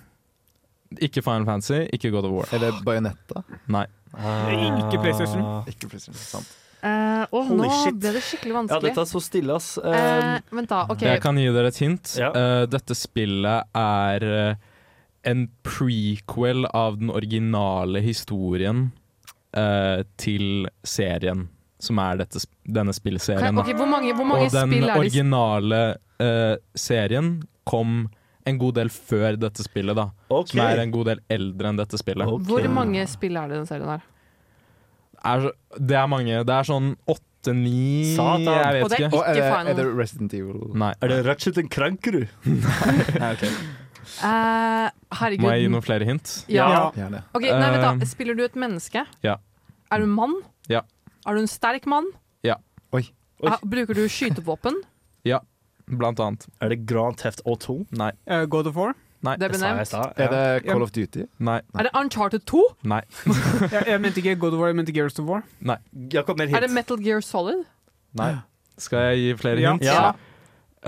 [SPEAKER 4] Ikke Final Fantasy, ikke God of War.
[SPEAKER 7] Er det Bajonetta?
[SPEAKER 4] Nei.
[SPEAKER 6] er ikke PlayStation.
[SPEAKER 7] Ikke PlayStation, sant.
[SPEAKER 3] Uh,
[SPEAKER 8] Holy
[SPEAKER 3] nå
[SPEAKER 8] shit.
[SPEAKER 3] ble det skikkelig
[SPEAKER 8] Ja,
[SPEAKER 3] vanskelig.
[SPEAKER 8] dette er så stille, ass.
[SPEAKER 3] Eh,
[SPEAKER 8] Eh,
[SPEAKER 3] vent, da. OK.
[SPEAKER 4] Jeg kan gi dere et hint.
[SPEAKER 8] Ja.
[SPEAKER 4] Eh, dette spillet er eh, en prequel av den originale historien eh, til serien, som er dette, sp- denne spillserien.
[SPEAKER 3] Kan-
[SPEAKER 4] da.
[SPEAKER 3] ok, hvor mange, hvor mange
[SPEAKER 4] Og den
[SPEAKER 3] spill er det i-
[SPEAKER 4] originale eh, serien kom en god del før dette spillet, da.
[SPEAKER 8] ok.
[SPEAKER 4] Som er en god del eldre enn dette spillet.
[SPEAKER 8] Ok.
[SPEAKER 3] Hvor mange spill er det i den serien her?
[SPEAKER 4] Er, så- det er mange. Det er sånn åtte-ni
[SPEAKER 8] Satan.
[SPEAKER 4] Jeg
[SPEAKER 3] Og
[SPEAKER 4] vet
[SPEAKER 3] det er
[SPEAKER 4] ikke.
[SPEAKER 7] Og er det,
[SPEAKER 3] Final-
[SPEAKER 7] er det Resident Evil?
[SPEAKER 4] Nei.
[SPEAKER 8] Er det Ratchet and Crankerud? Nei, ok.
[SPEAKER 3] Eh, herregud.
[SPEAKER 4] Må jeg gi noen flere hint?
[SPEAKER 3] Ja.
[SPEAKER 6] Ja.
[SPEAKER 7] Gjerne.
[SPEAKER 3] Ok, nei, vent da.
[SPEAKER 4] Eh,
[SPEAKER 3] Spiller du et menneske?
[SPEAKER 4] ja.
[SPEAKER 3] Er du en mann?
[SPEAKER 4] Ja.
[SPEAKER 3] Er du en sterk mann?
[SPEAKER 7] Oi.
[SPEAKER 8] Oi.
[SPEAKER 3] Ha- Bruker du skytevåpen?
[SPEAKER 4] Blant annet.
[SPEAKER 8] Er det Grand Theft Auto?
[SPEAKER 4] Nei.
[SPEAKER 6] Eh, God of War.
[SPEAKER 4] Nei.
[SPEAKER 3] Det ble
[SPEAKER 8] Sa jeg i
[SPEAKER 3] nevnt.
[SPEAKER 8] stad?
[SPEAKER 7] Er
[SPEAKER 8] Ja.
[SPEAKER 7] det Call of Duty?
[SPEAKER 4] Nei.
[SPEAKER 3] Er det Uncharted 2?
[SPEAKER 4] Nei.
[SPEAKER 6] Jeg, jeg mente ikke God of War, jeg mente Gears of War.
[SPEAKER 8] Jakob, mer hit.
[SPEAKER 3] Er det Metal Gear Solid?
[SPEAKER 4] Nei. Skal jeg gi flere
[SPEAKER 6] Ja.
[SPEAKER 4] hint?
[SPEAKER 8] Ja.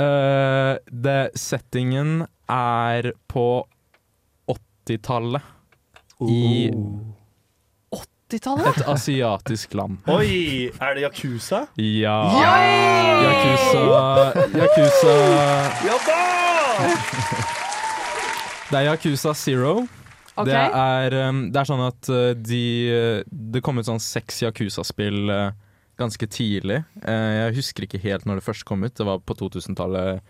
[SPEAKER 4] Eh, det, settingen er på 80-tallet. I-
[SPEAKER 8] Oh.
[SPEAKER 3] 80-tallet?
[SPEAKER 4] Et asiatisk land.
[SPEAKER 8] Oi! Er det Yakuza?
[SPEAKER 4] Ja.
[SPEAKER 8] Yakuza.
[SPEAKER 4] Yakuza, Yakuza
[SPEAKER 8] Ja da!
[SPEAKER 4] Det er Yakuza Zero.
[SPEAKER 3] Ok.
[SPEAKER 4] Det, er, um, det er sånn at uh, de uh, Det kom ut sånn seks Yakuza-spill uh, ganske tidlig. Uh, jeg husker ikke helt når det først kom ut. Det var på 2000-tallet.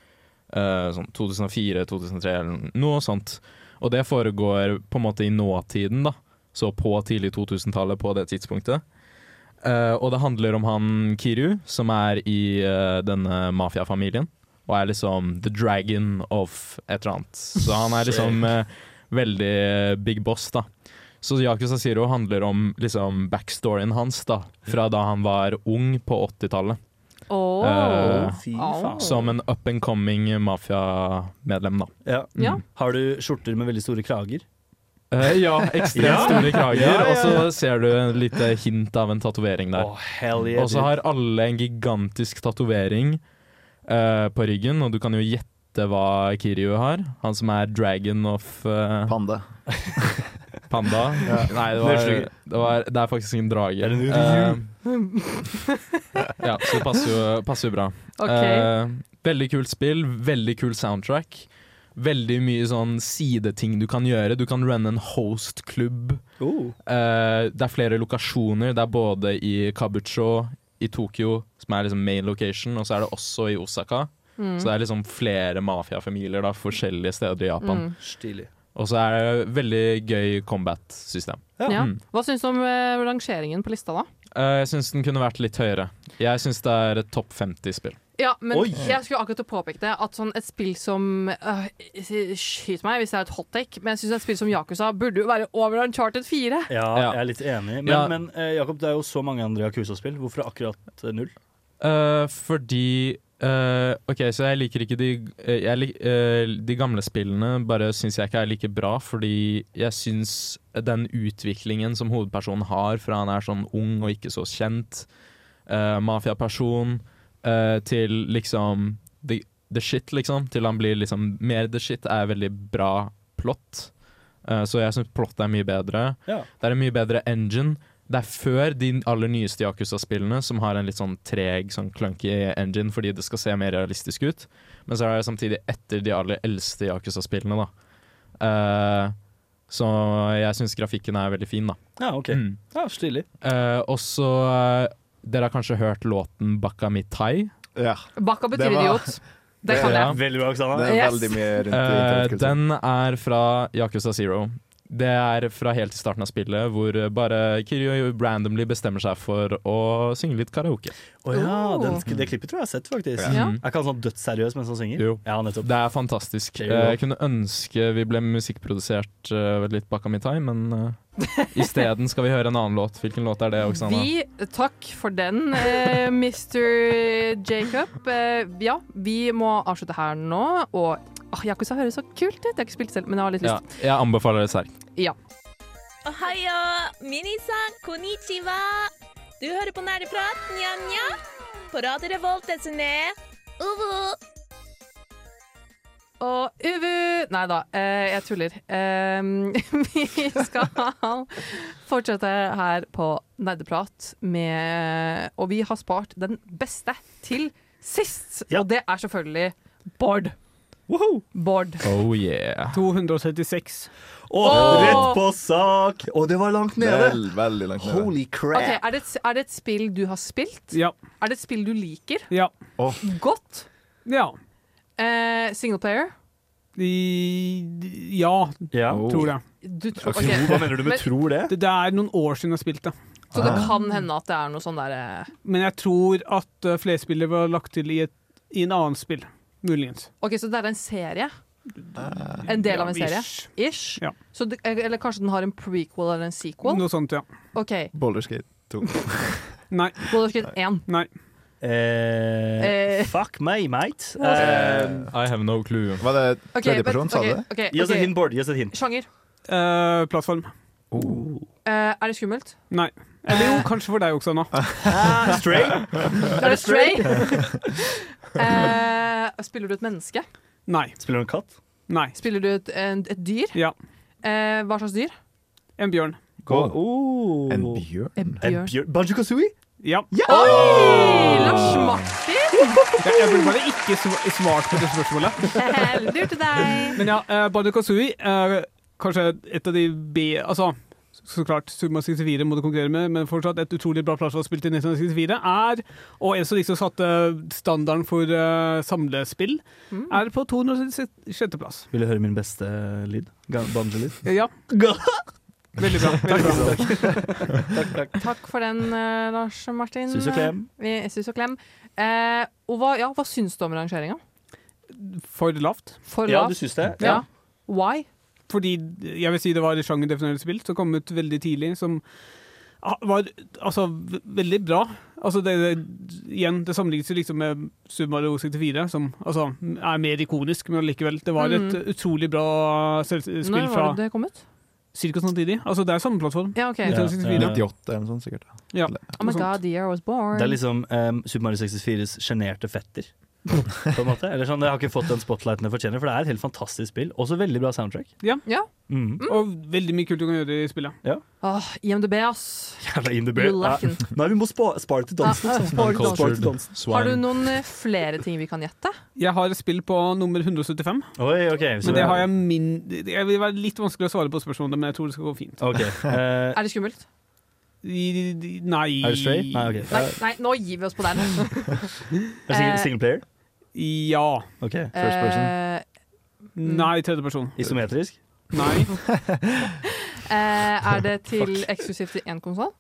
[SPEAKER 4] Uh, sånn 2004-2003 eller noe sånt. Og det foregår på en måte i nåtiden, da. Så på tidlig 2000-tallet på det tidspunktet. Eh, og det handler om han Kiryu, som er i eh, denne mafiafamilien. Og er liksom the dragon of et eller annet. Så han er liksom eh, veldig eh, big boss, da. Så Yakuza Zero handler om liksom backstoryen hans, da. Fra da han var ung på 80-tallet.
[SPEAKER 3] Åh.
[SPEAKER 4] Eh,
[SPEAKER 8] Fy
[SPEAKER 3] Au.
[SPEAKER 8] faen.
[SPEAKER 4] Som en up and coming mafiamedlem, da.
[SPEAKER 8] Ja.
[SPEAKER 3] Ja.
[SPEAKER 8] Har du skjorter med veldig store krager?
[SPEAKER 4] Eh, ja, ekstremt
[SPEAKER 8] Ja.
[SPEAKER 4] store krager.
[SPEAKER 8] Ja, ja, ja.
[SPEAKER 4] Og så ser du et lite hint av en tatovering der.
[SPEAKER 8] hell
[SPEAKER 4] Og så har alle en gigantisk tatovering eh, på ryggen, og du kan jo gjette hva Kiryu har. Han som er dragon of eh,
[SPEAKER 7] Panda.
[SPEAKER 4] panda. Nei, det,
[SPEAKER 8] Det
[SPEAKER 4] var,
[SPEAKER 8] husker jeg ikke.
[SPEAKER 4] det, var, det er faktisk en drage.
[SPEAKER 8] Er det en
[SPEAKER 4] Eh, ja, så det passer jo, passer jo bra.
[SPEAKER 3] Ok.
[SPEAKER 4] Eh, veldig kult spill, veldig kul soundtrack. Veldig mye sånn sideting du kan gjøre. Du kan runne en hostklubb.
[SPEAKER 8] oh.
[SPEAKER 4] Eh, det er flere lokasjoner. Det er både i Kabucho, i Tokyo, som er liksom main location, og så er det også i Osaka.
[SPEAKER 3] Mm.
[SPEAKER 4] Så det er liksom flere mafiafamilier da, forskjellige steder i Japan.
[SPEAKER 3] Mm.
[SPEAKER 8] Stilig.
[SPEAKER 4] Og så er det veldig gøy combat-system.
[SPEAKER 8] Ja.
[SPEAKER 3] Ja.
[SPEAKER 4] Mm.
[SPEAKER 3] Hva syns du om eh, rangeringen på lista, da?
[SPEAKER 4] Eh, jeg syns den kunne vært litt høyere. Jeg syns det er et topp 50-spill.
[SPEAKER 3] Ja, men
[SPEAKER 8] Oi.
[SPEAKER 3] jeg skulle akkurat til å påpeke det. At sånn et spill som øh, Skyt meg hvis det er et hot take, men jeg syns et spill som Yakuza burde jo være over Uncharted 4.
[SPEAKER 8] Ja,
[SPEAKER 4] Ja.
[SPEAKER 8] jeg er litt enig. Men,
[SPEAKER 4] Ja.
[SPEAKER 8] men eh, Jakob, det er jo så mange andre Yakuza-spill. Hvorfor akkurat eh, null?
[SPEAKER 4] Eh, fordi eh, OK, så jeg liker ikke de eh, jeg, lik- eh, De gamle spillene bare syns jeg ikke er like bra, fordi jeg syns den utviklingen som hovedpersonen har fra han er sånn ung og ikke så kjent, eh, mafiaperson, eh, til liksom the, the shit, liksom, til han blir liksom mer the shit, er veldig bra plott. Eh, så jeg syns plott er mye bedre.
[SPEAKER 8] Ja.
[SPEAKER 4] Det er en mye bedre engine. Det er før de aller nyeste Yakuza-spillene, som har en litt sånn treg, sånn clunky engine fordi det skal se mer realistisk ut. Men så er det samtidig etter de aller eldste Yakuza-spillene, da. Eh, så jeg syns grafikken er veldig fin, da.
[SPEAKER 8] Ja, OK.
[SPEAKER 4] Mm.
[SPEAKER 8] Ja, Stilig.
[SPEAKER 4] Eh, og så eh, Dere har kanskje hørt låten 'Bakka Mitai'?
[SPEAKER 7] Ja.
[SPEAKER 3] Bakka betyr
[SPEAKER 7] Det var-
[SPEAKER 3] idiot. Det kan
[SPEAKER 4] Ja.
[SPEAKER 3] jeg.
[SPEAKER 8] Veldig bra,
[SPEAKER 7] Det
[SPEAKER 8] Oksana.
[SPEAKER 7] er
[SPEAKER 3] Yes.
[SPEAKER 7] veldig mye rundt
[SPEAKER 4] Eh,
[SPEAKER 7] internettkultur.
[SPEAKER 4] den er fra Yakuza Zero. Det er fra helt i starten av spillet, hvor eh, bare Kiryu randomly bestemmer seg for å synge litt karaoke.
[SPEAKER 8] Å ja,
[SPEAKER 3] Oh.
[SPEAKER 8] den, sk- det klippet tror jeg jeg har sett, faktisk.
[SPEAKER 3] Ja.
[SPEAKER 8] Er ikke han sånn dødsseriøs mens han synger?
[SPEAKER 4] Jo.
[SPEAKER 8] Ja, nettopp.
[SPEAKER 4] Det er fantastisk.
[SPEAKER 8] Det er jo
[SPEAKER 4] Eh, Jeg kunne ønske vi ble musikkprodusert eh, litt bak av min time, men eh, Isteden skal vi høre en annen låt. Hvilken låt er det, Oksana?
[SPEAKER 3] Vi, takk for den, eh, Mr. Jacob. Eh, ja, vi må avslutte her nå. Og oh, Yakuza høres så kult ut. Jeg har ikke spilt selv, men jeg har litt
[SPEAKER 4] ja,
[SPEAKER 3] lyst.
[SPEAKER 4] jeg anbefaler det sterkt.
[SPEAKER 3] Ja.
[SPEAKER 9] Ohayo, minisan, konnichiwa. Du hører på Nerdeprat, nja-nja. På Radio Revolt, SNE. Uvu.
[SPEAKER 3] Og Uvu Nei da, eh, jeg tuller. Eh, vi skal fortsette her på Nerdeprat med Og vi har spart den beste til sist,
[SPEAKER 8] Ja.
[SPEAKER 3] og det er selvfølgelig Bård.
[SPEAKER 8] Woho!
[SPEAKER 3] Bård.
[SPEAKER 4] Oh yeah.
[SPEAKER 6] 236.
[SPEAKER 8] Og
[SPEAKER 3] Åh!
[SPEAKER 8] rett på sak! Og det var langt nede.
[SPEAKER 7] Vel, veldig langt nede.
[SPEAKER 8] Holy crap.
[SPEAKER 3] Ok, er, det et, er det et spill du har spilt?
[SPEAKER 6] Ja.
[SPEAKER 3] Er det et spill du liker
[SPEAKER 6] Ja.
[SPEAKER 3] godt?
[SPEAKER 6] Ja.
[SPEAKER 3] Eh, single player?
[SPEAKER 6] I- Ja,
[SPEAKER 8] Ja.
[SPEAKER 7] Oh.
[SPEAKER 6] tror jeg.
[SPEAKER 3] Du tror,
[SPEAKER 8] Tro,
[SPEAKER 3] ok.
[SPEAKER 8] Hva mener du med
[SPEAKER 3] Men-
[SPEAKER 8] 'tror' det?
[SPEAKER 6] Det, det er noen år siden jeg har spilt det.
[SPEAKER 3] Så det kan hende at det er noe sånn der eh,
[SPEAKER 6] Men jeg tror at uh, flerspillet var lagt til i, et, i en annen spill. Muligens.
[SPEAKER 3] Ok, så det er en serie? En del av en
[SPEAKER 6] Ja,
[SPEAKER 3] serie?
[SPEAKER 6] ish.
[SPEAKER 3] Ish?
[SPEAKER 6] Ja.
[SPEAKER 3] Så det, eh, eller kanskje den har en prequel eller en sequel?
[SPEAKER 6] Noe sånt, ja.
[SPEAKER 3] OK.
[SPEAKER 7] Baldur's Gate 2.
[SPEAKER 6] Nei.
[SPEAKER 3] Baldur's Gate 1.
[SPEAKER 6] Nei.
[SPEAKER 8] Eh,
[SPEAKER 3] Eh.
[SPEAKER 8] fuck meg, mate. Eh,
[SPEAKER 4] I have no clue.
[SPEAKER 7] Var det
[SPEAKER 3] Ok,
[SPEAKER 7] tredjeperson,
[SPEAKER 3] vent,
[SPEAKER 7] sa du
[SPEAKER 3] ok,
[SPEAKER 7] det?
[SPEAKER 3] ok,
[SPEAKER 8] Gi oss et
[SPEAKER 3] ok.
[SPEAKER 8] hint, Bård. Gi oss et hint. Uh,
[SPEAKER 3] Sjanger.
[SPEAKER 6] Eh, plattform.
[SPEAKER 3] Eh, er det skummelt?
[SPEAKER 6] Nei. Eller jo, kanskje for deg også, Anna.
[SPEAKER 8] Stray?
[SPEAKER 3] Er det Stray? eh, spiller du et menneske?
[SPEAKER 6] Nei.
[SPEAKER 8] Spiller du en katt?
[SPEAKER 6] Nei.
[SPEAKER 3] Spiller du et, en, et dyr?
[SPEAKER 6] Ja.
[SPEAKER 3] Eh, hva slags dyr?
[SPEAKER 6] En bjørn.
[SPEAKER 7] Gå.
[SPEAKER 8] Oh.
[SPEAKER 7] En bjørn?
[SPEAKER 8] En bjørn. Banjo Kazooie?
[SPEAKER 6] Ja.
[SPEAKER 3] Oi! Lars Martin!
[SPEAKER 6] Jeg, jeg burde bare ikke sv- svart på det spørsmålet.
[SPEAKER 3] Lur til deg.
[SPEAKER 6] Men ja, uh, Banjo Kazooie er kanskje et av de B... Altså, så klart, Summa 64 må du konkurrere med, men fortsatt et utrolig bra plattformspill til 1964 er, og en som liksom satte standarden for eh, samlespill, er på 266. plass.
[SPEAKER 8] Vil du høre min beste lyd? Banjo-lyd?
[SPEAKER 6] Ja. Veldig bra. Veldig bra.
[SPEAKER 3] Takk for den, eh, Lars Martin.
[SPEAKER 8] Sus og klem.
[SPEAKER 3] Eh, Sus og klem. Eh, og hva, ja, hva syns du om rangeringa?
[SPEAKER 6] For lavt.
[SPEAKER 3] For
[SPEAKER 8] Ja,
[SPEAKER 3] lavt?
[SPEAKER 8] du syns det?
[SPEAKER 3] Ja. Why?
[SPEAKER 6] Fordi jeg vil si det var et sjangerdefinerende spill som kom ut veldig tidlig, som ah, var altså v- veldig bra. Altså det, det, igjen, det sammenlignes jo liksom med Subaru 64, som altså, er mer ikonisk, men allikevel. Det var et
[SPEAKER 3] Mhm.
[SPEAKER 6] utrolig bra selv- spill
[SPEAKER 3] Når
[SPEAKER 6] fra
[SPEAKER 3] var det det kom ut?
[SPEAKER 6] cirka samtidig. Altså, det er samme plattform.
[SPEAKER 3] Ja, ok.
[SPEAKER 8] Ja.
[SPEAKER 6] 1964.
[SPEAKER 7] 98 eller noe sånt, sånn, sikkert.
[SPEAKER 6] Ja.
[SPEAKER 3] Oh my
[SPEAKER 6] noe sånt.
[SPEAKER 3] god, the year I was born.
[SPEAKER 8] Det er liksom um, Super Mario 64s sjenerte fetter. På en måte. Eller sånn, Jeg har ikke fått den spotlighten jeg fortjener, for det er et helt fantastisk spill. Også veldig bra soundtrack.
[SPEAKER 3] Ja.
[SPEAKER 8] Mm.
[SPEAKER 6] Og veldig mye kult du kan gjøre i spillet.
[SPEAKER 3] Åh, IMDb, ass.
[SPEAKER 8] Jævla in the
[SPEAKER 3] You
[SPEAKER 8] bear.
[SPEAKER 3] lacking.
[SPEAKER 8] Nei, vi må spa- spare til dansen. liksom.
[SPEAKER 3] Ah, ah,
[SPEAKER 8] Spare til dansen. Spare
[SPEAKER 4] Uncultured
[SPEAKER 8] til dansen.
[SPEAKER 3] Har du
[SPEAKER 4] swine.
[SPEAKER 3] noen eh, flere ting vi kan gjette?
[SPEAKER 6] Jeg har et spill på nummer 175,
[SPEAKER 8] Oi, ok. så-
[SPEAKER 6] men det har jeg min... Det vil være litt vanskelig å svare på spørsmålet, men jeg tror det skal gå fint.
[SPEAKER 8] Ok, eh,
[SPEAKER 3] Er det skummelt?
[SPEAKER 6] I- i- Nei
[SPEAKER 8] Er det straight? Nei, ok.
[SPEAKER 3] Nei, nei nå gir vi oss på den.
[SPEAKER 8] Er Eh. det
[SPEAKER 3] Eh,
[SPEAKER 8] single, single player?
[SPEAKER 6] Ja.
[SPEAKER 8] Ok.
[SPEAKER 7] First person.
[SPEAKER 3] Eh,
[SPEAKER 6] Nei, tredjeperson.
[SPEAKER 8] Isometrisk?
[SPEAKER 6] Nei.
[SPEAKER 3] eh, er det til eksklusivt til én konsoll?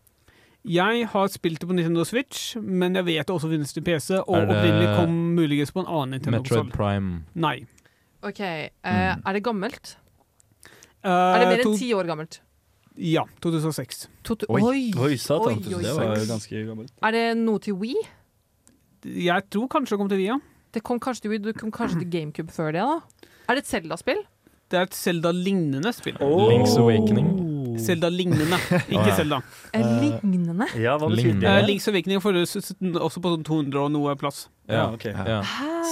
[SPEAKER 6] Jeg har spilt det på Nintendo Switch, men jeg vet det også finnes til PC, og
[SPEAKER 4] Er det-
[SPEAKER 6] opprinnelig kom muligens på en annen
[SPEAKER 4] Metroid
[SPEAKER 6] Nintendo-konsoll.
[SPEAKER 4] Prime.
[SPEAKER 6] Nei.
[SPEAKER 3] Ok, eh,
[SPEAKER 7] Mm.
[SPEAKER 3] Er det gammelt?
[SPEAKER 6] Eh,
[SPEAKER 3] Er det mer
[SPEAKER 6] to-
[SPEAKER 3] enn ti år gammelt?
[SPEAKER 6] Ja, 2006.
[SPEAKER 3] To to
[SPEAKER 7] Oi.
[SPEAKER 3] Oi.
[SPEAKER 8] Oi, satan.
[SPEAKER 3] Oi, oi,
[SPEAKER 8] det var
[SPEAKER 3] oi.
[SPEAKER 8] jo ganske gammelt.
[SPEAKER 3] Er det noe til Wii?
[SPEAKER 6] Jeg tror kanskje det kom til Via.
[SPEAKER 3] Det kom kanskje til Wii, det kom kanskje til GameCube før det. da Er det et Zelda-spill?
[SPEAKER 6] Det er et Zelda-lignende spill.
[SPEAKER 8] Oh.
[SPEAKER 4] Link's Awakening.
[SPEAKER 6] Zelda-lignende, ikke
[SPEAKER 4] ja.
[SPEAKER 6] Zelda.
[SPEAKER 3] Eh, Lignende?
[SPEAKER 8] Ja, hva betyr
[SPEAKER 4] Lignende.
[SPEAKER 6] Eh,
[SPEAKER 8] det?
[SPEAKER 6] Links Awakening får du s- s- også på sånn 200 og noe plass.
[SPEAKER 8] Ja, ok.
[SPEAKER 3] Ah.
[SPEAKER 4] Ja.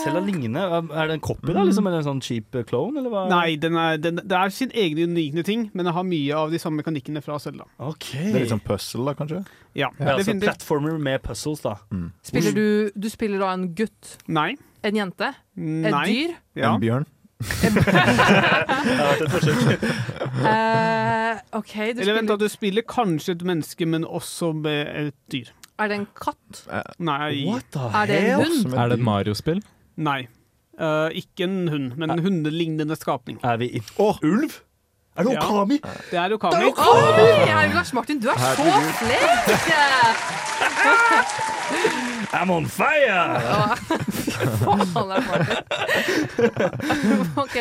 [SPEAKER 8] Selv av lignende, er det en copy da, liksom? Eller en sånn cheap eh, clone, eller hva?
[SPEAKER 6] Nei, den er, den, det er sin egne unikne ting, men det har mye av de samme mekanikkene fra Zelda.
[SPEAKER 8] Ok.
[SPEAKER 7] Det er litt sånn puzzle, da, kanskje?
[SPEAKER 6] Ja,
[SPEAKER 8] Ja, altså
[SPEAKER 6] definitivt.
[SPEAKER 8] platformer med puzzles, da.
[SPEAKER 6] Mm.
[SPEAKER 3] Spiller du, du spiller da en gutt,
[SPEAKER 6] Nei.
[SPEAKER 3] en jente, et
[SPEAKER 6] Nei.
[SPEAKER 3] dyr.
[SPEAKER 6] Ja.
[SPEAKER 7] En bjørn?
[SPEAKER 3] Eh, OK, du
[SPEAKER 6] Eller vent,
[SPEAKER 3] spiller
[SPEAKER 6] da. Du spiller kanskje et menneske, men også med et dyr.
[SPEAKER 3] Er det en katt?
[SPEAKER 6] Nei.
[SPEAKER 8] What the
[SPEAKER 3] Er det en
[SPEAKER 8] hell?
[SPEAKER 3] hund?
[SPEAKER 7] Som
[SPEAKER 4] Er det et Mario-spill?
[SPEAKER 6] Nei. Eh, ikke en hund, men en hundelignende skapning.
[SPEAKER 8] Er vi i Å, ulv? Er det
[SPEAKER 6] Ja.
[SPEAKER 8] Okami?
[SPEAKER 6] Det er Okami.
[SPEAKER 3] Oi, Lars Martin, du er så flink!
[SPEAKER 8] I'm on fire!
[SPEAKER 3] Ja. Faen, det er farlig. OK.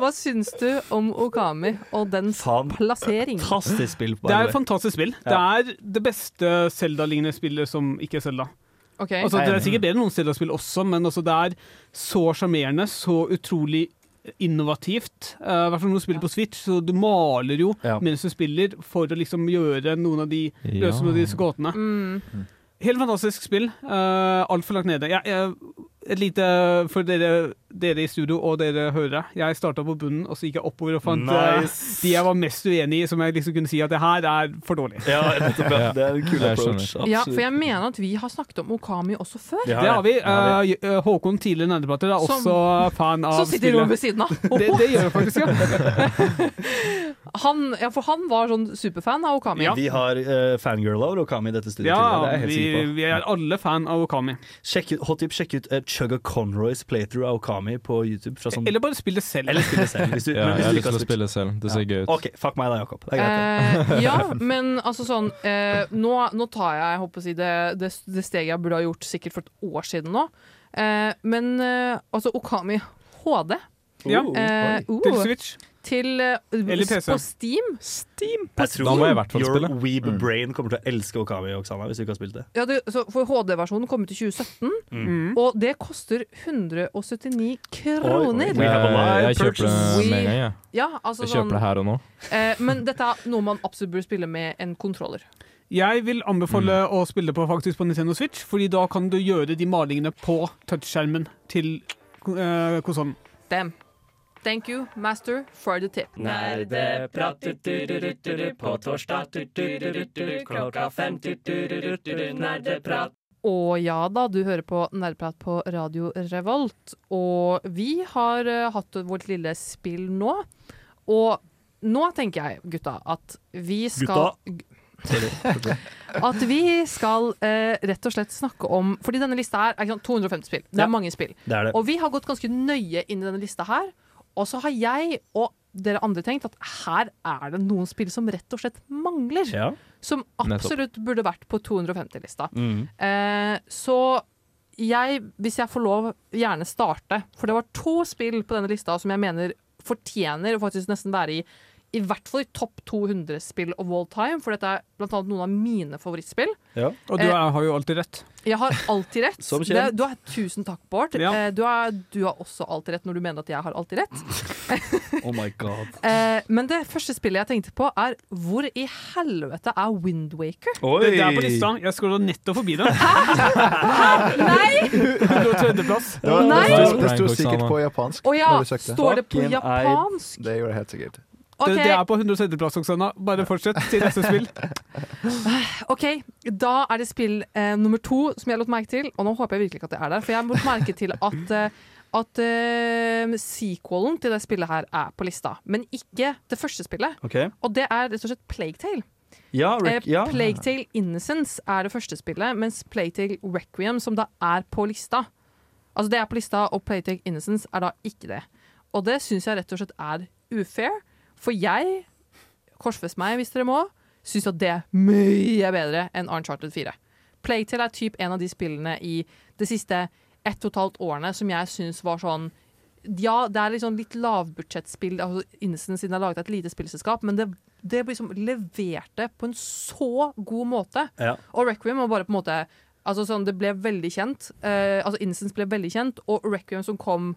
[SPEAKER 3] Hva syns du om Okami og dens
[SPEAKER 8] Faen.
[SPEAKER 3] plassering?
[SPEAKER 8] Fantastisk spill. by
[SPEAKER 6] Det er
[SPEAKER 8] the
[SPEAKER 6] et
[SPEAKER 8] way.
[SPEAKER 6] fantastisk spill. Det er det beste Zelda-lignende spillet som ikke er Zelda.
[SPEAKER 3] Ok,
[SPEAKER 6] Altså, det
[SPEAKER 8] Nei,
[SPEAKER 6] er sikkert bedre noen Zelda-spill også, men altså, det er så sjarmerende, så utrolig innovativt. Eh, I hvert fall når du spiller på Switch, så du maler jo
[SPEAKER 8] Ja.
[SPEAKER 6] mens du spiller for å liksom gjøre noen av de
[SPEAKER 4] Ja.
[SPEAKER 6] løse noen av disse gåtene. Helt fantastisk spill. Uh, Altfor langt nede. Jeg, jeg, et lite for dere, dere i studio og dere hørere. Jeg starta på bunnen, og så gikk jeg oppover og fant eh,
[SPEAKER 8] Nice.
[SPEAKER 6] de jeg var mest uenig i, som jeg liksom kunne si at det her er for dårlig.
[SPEAKER 8] Ja, nettopp, ja. Det er en kul
[SPEAKER 4] Jeg
[SPEAKER 8] approach.
[SPEAKER 3] Ja, for jeg mener at vi har snakket om Okami også før.
[SPEAKER 6] Det
[SPEAKER 8] Det
[SPEAKER 6] har vi.
[SPEAKER 8] Det har
[SPEAKER 6] Eh, J- eh, Håkon, tidligere nerdeplater, er
[SPEAKER 3] Som-
[SPEAKER 6] også fan av
[SPEAKER 3] Så sitter Jon ved
[SPEAKER 6] spillet.
[SPEAKER 3] siden av.
[SPEAKER 6] Det, det gjør jeg faktisk, ja.
[SPEAKER 3] Han, ja, for han var sånn superfan av Okami.
[SPEAKER 6] Ja.
[SPEAKER 8] Vi har uh, fangirl over Okami i dette studioet. det er
[SPEAKER 6] ja
[SPEAKER 8] jeg helt
[SPEAKER 6] vi,
[SPEAKER 8] sikker på.
[SPEAKER 6] vi er alle fan av Okami.
[SPEAKER 8] Sjekk ut, hot tip, sjekk ut eh, Chugga Conroys playthrough av Okami på YouTube. Fra sånn,
[SPEAKER 6] Eller bare spille selv.
[SPEAKER 8] eller spill det selv. Hvis du,
[SPEAKER 4] Ja, jeg
[SPEAKER 8] men hvis
[SPEAKER 4] har lyst
[SPEAKER 8] du ikke
[SPEAKER 4] til å
[SPEAKER 8] har spilt
[SPEAKER 4] spille selv. Det ser gøy ut.
[SPEAKER 8] OK, fuck meg da, Jakob. Det er greit.
[SPEAKER 3] Eh, ja, men altså sånn eh, nå, nå tar jeg jeg håper å si, det, det, det steget jeg burde ha gjort sikkert for et år siden nå. Eh, men eh, altså Okami HD
[SPEAKER 6] ja.
[SPEAKER 8] Oh,
[SPEAKER 3] eh,
[SPEAKER 8] oi.
[SPEAKER 3] oh,
[SPEAKER 6] Til Switch.
[SPEAKER 3] til eh,
[SPEAKER 6] Eller PC.
[SPEAKER 3] på Steam.
[SPEAKER 8] Jeg tror
[SPEAKER 4] Da må jeg i hvert fall
[SPEAKER 8] Your
[SPEAKER 4] spille.
[SPEAKER 8] weeb brain kommer til å elske Okami, Oksana, hvis du ikke har spilt det.
[SPEAKER 3] Ja, det, så for HD-versjonen kom ut i 2017,
[SPEAKER 6] Mm.
[SPEAKER 3] og det koster 179 kroner.
[SPEAKER 8] We have a
[SPEAKER 4] Eh,
[SPEAKER 8] live
[SPEAKER 4] Jeg kjøper det
[SPEAKER 3] purchase.
[SPEAKER 4] med en gang, jeg.
[SPEAKER 3] Ja, altså
[SPEAKER 4] Jeg kjøper
[SPEAKER 3] sånn,
[SPEAKER 4] det her og nå.
[SPEAKER 3] eh, men dette er noe man absolutt burde spille med en kontroller.
[SPEAKER 6] Jeg vil anbefale
[SPEAKER 8] Mm.
[SPEAKER 6] å spille det på faktisk på Nintendo Switch, Fordi da kan du gjøre de malingene på touchskjermen til uh, konsollen.
[SPEAKER 3] Damn. Thank you, master, for the tip.
[SPEAKER 2] Nerdeprat på torsdag klokka fem. Nerdeprat.
[SPEAKER 3] Og ja da, du hører på Nerdprat på Radio Revolt. Og vi har eh, hatt vårt lille spill nå. Og nå tenker jeg, gutta, at vi skal At vi skal eh, rett og slett snakke om Fordi denne lista her er ikke sant, 250 spill. Det er
[SPEAKER 8] Ja.
[SPEAKER 3] mange spill.
[SPEAKER 8] Det er det.
[SPEAKER 3] Og vi har gått ganske nøye inn i denne lista her. Og så har jeg og dere andre tenkt at her er det noen spill som rett og slett mangler.
[SPEAKER 8] Ja.
[SPEAKER 3] Som
[SPEAKER 4] Nettopp.
[SPEAKER 3] absolutt burde vært på 250-lista.
[SPEAKER 8] Mm.
[SPEAKER 3] Eh, så jeg, hvis jeg får lov, gjerne starte. For det var to spill på denne lista som jeg mener fortjener å faktisk nesten være i i hvert fall i topp 200 spill of all time, for dette er blant annet noen av mine favorittspill.
[SPEAKER 8] Ja.
[SPEAKER 6] Og du
[SPEAKER 3] Eh.
[SPEAKER 6] er, har jo alltid rett.
[SPEAKER 3] Jeg har alltid rett.
[SPEAKER 8] Som
[SPEAKER 3] Det,
[SPEAKER 8] kjent.
[SPEAKER 3] du har tusen takk, Bård.
[SPEAKER 6] Ja.
[SPEAKER 3] Eh, Du, har, du har også alltid rett når du mener at jeg har alltid rett.
[SPEAKER 8] Oh my god.
[SPEAKER 3] Eh, men det første spillet jeg tenkte på, er hvor i helvete er Windwaker?
[SPEAKER 8] Oi!
[SPEAKER 6] Det, det er på lista. Jeg scrolla nettopp forbi det.
[SPEAKER 3] Nei!
[SPEAKER 6] 103.-plass.
[SPEAKER 7] Det, var,
[SPEAKER 3] Nei!
[SPEAKER 7] det, sto, det sto
[SPEAKER 4] Prank,
[SPEAKER 7] sikkert
[SPEAKER 4] Oksana.
[SPEAKER 7] på japansk.
[SPEAKER 3] Å ja,
[SPEAKER 7] når du søkte.
[SPEAKER 3] står det på
[SPEAKER 8] Fucking ei.
[SPEAKER 3] japansk?
[SPEAKER 7] Det gjorde jeg helt sikkert.
[SPEAKER 3] Ok,
[SPEAKER 6] Det, det er på 103.-plass, Oksana. Bare fortsett til neste spill.
[SPEAKER 3] ok, da er det spill eh, nummer to som jeg lot merke til, og nå håper jeg virkelig ikke at det er der, for jeg har lot merke til at, eh, at eh, sequelen til det spillet her er på lista, men ikke det første spillet.
[SPEAKER 8] Ok.
[SPEAKER 3] Og det er rett og slett Plague Tale.
[SPEAKER 8] Ja,
[SPEAKER 3] Eh,
[SPEAKER 8] Rick, ja.
[SPEAKER 3] Plague Tale Innocence er det første spillet, mens Plague Tale Requiem, som da er på lista Altså det er på lista, og Plague Tale Innocence er da ikke det. Og det syns jeg rett og slett er ufair, for jeg, korsfest meg hvis dere må, syns at det er mye bedre enn Uncharted 4. Plague Tale er typ en av de spillene i det siste ett og et halvt årene som jeg syns var sånn ja, det er liksom litt lavbudsjettspill. Altså Innocent siden jeg laget et lite spillselskap, men det, det liksom leverte på en så god måte.
[SPEAKER 8] Ja.
[SPEAKER 3] Og Requiem var bare på en måte Altså sånn, Det ble veldig kjent. Eh, altså Innocence ble veldig kjent, og Requiem som kom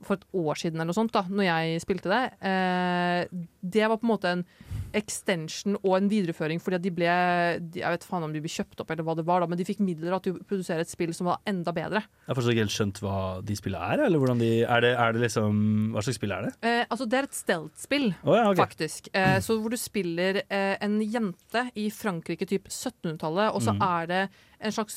[SPEAKER 3] for et år siden eller noe sånt, da når jeg spilte det, eh, det var på en måte en extension og en videreføring, fordi at de ble de, Jeg vet faen om de ble kjøpt opp, eller hva det var, da, men de fikk midler til å produsere et spill som var enda bedre.
[SPEAKER 8] Jeg har fortsatt ikke helt skjønt hva de spillene er, eller hvordan de Er det, er det liksom Hva slags spill er det?
[SPEAKER 3] Eh, altså, det er et stealth-spill.
[SPEAKER 8] Å ja, ok.
[SPEAKER 3] faktisk. Eh, så hvor du spiller eh, en jente i Frankrike typ 1700-tallet, og så
[SPEAKER 8] Mm.
[SPEAKER 3] er det en slags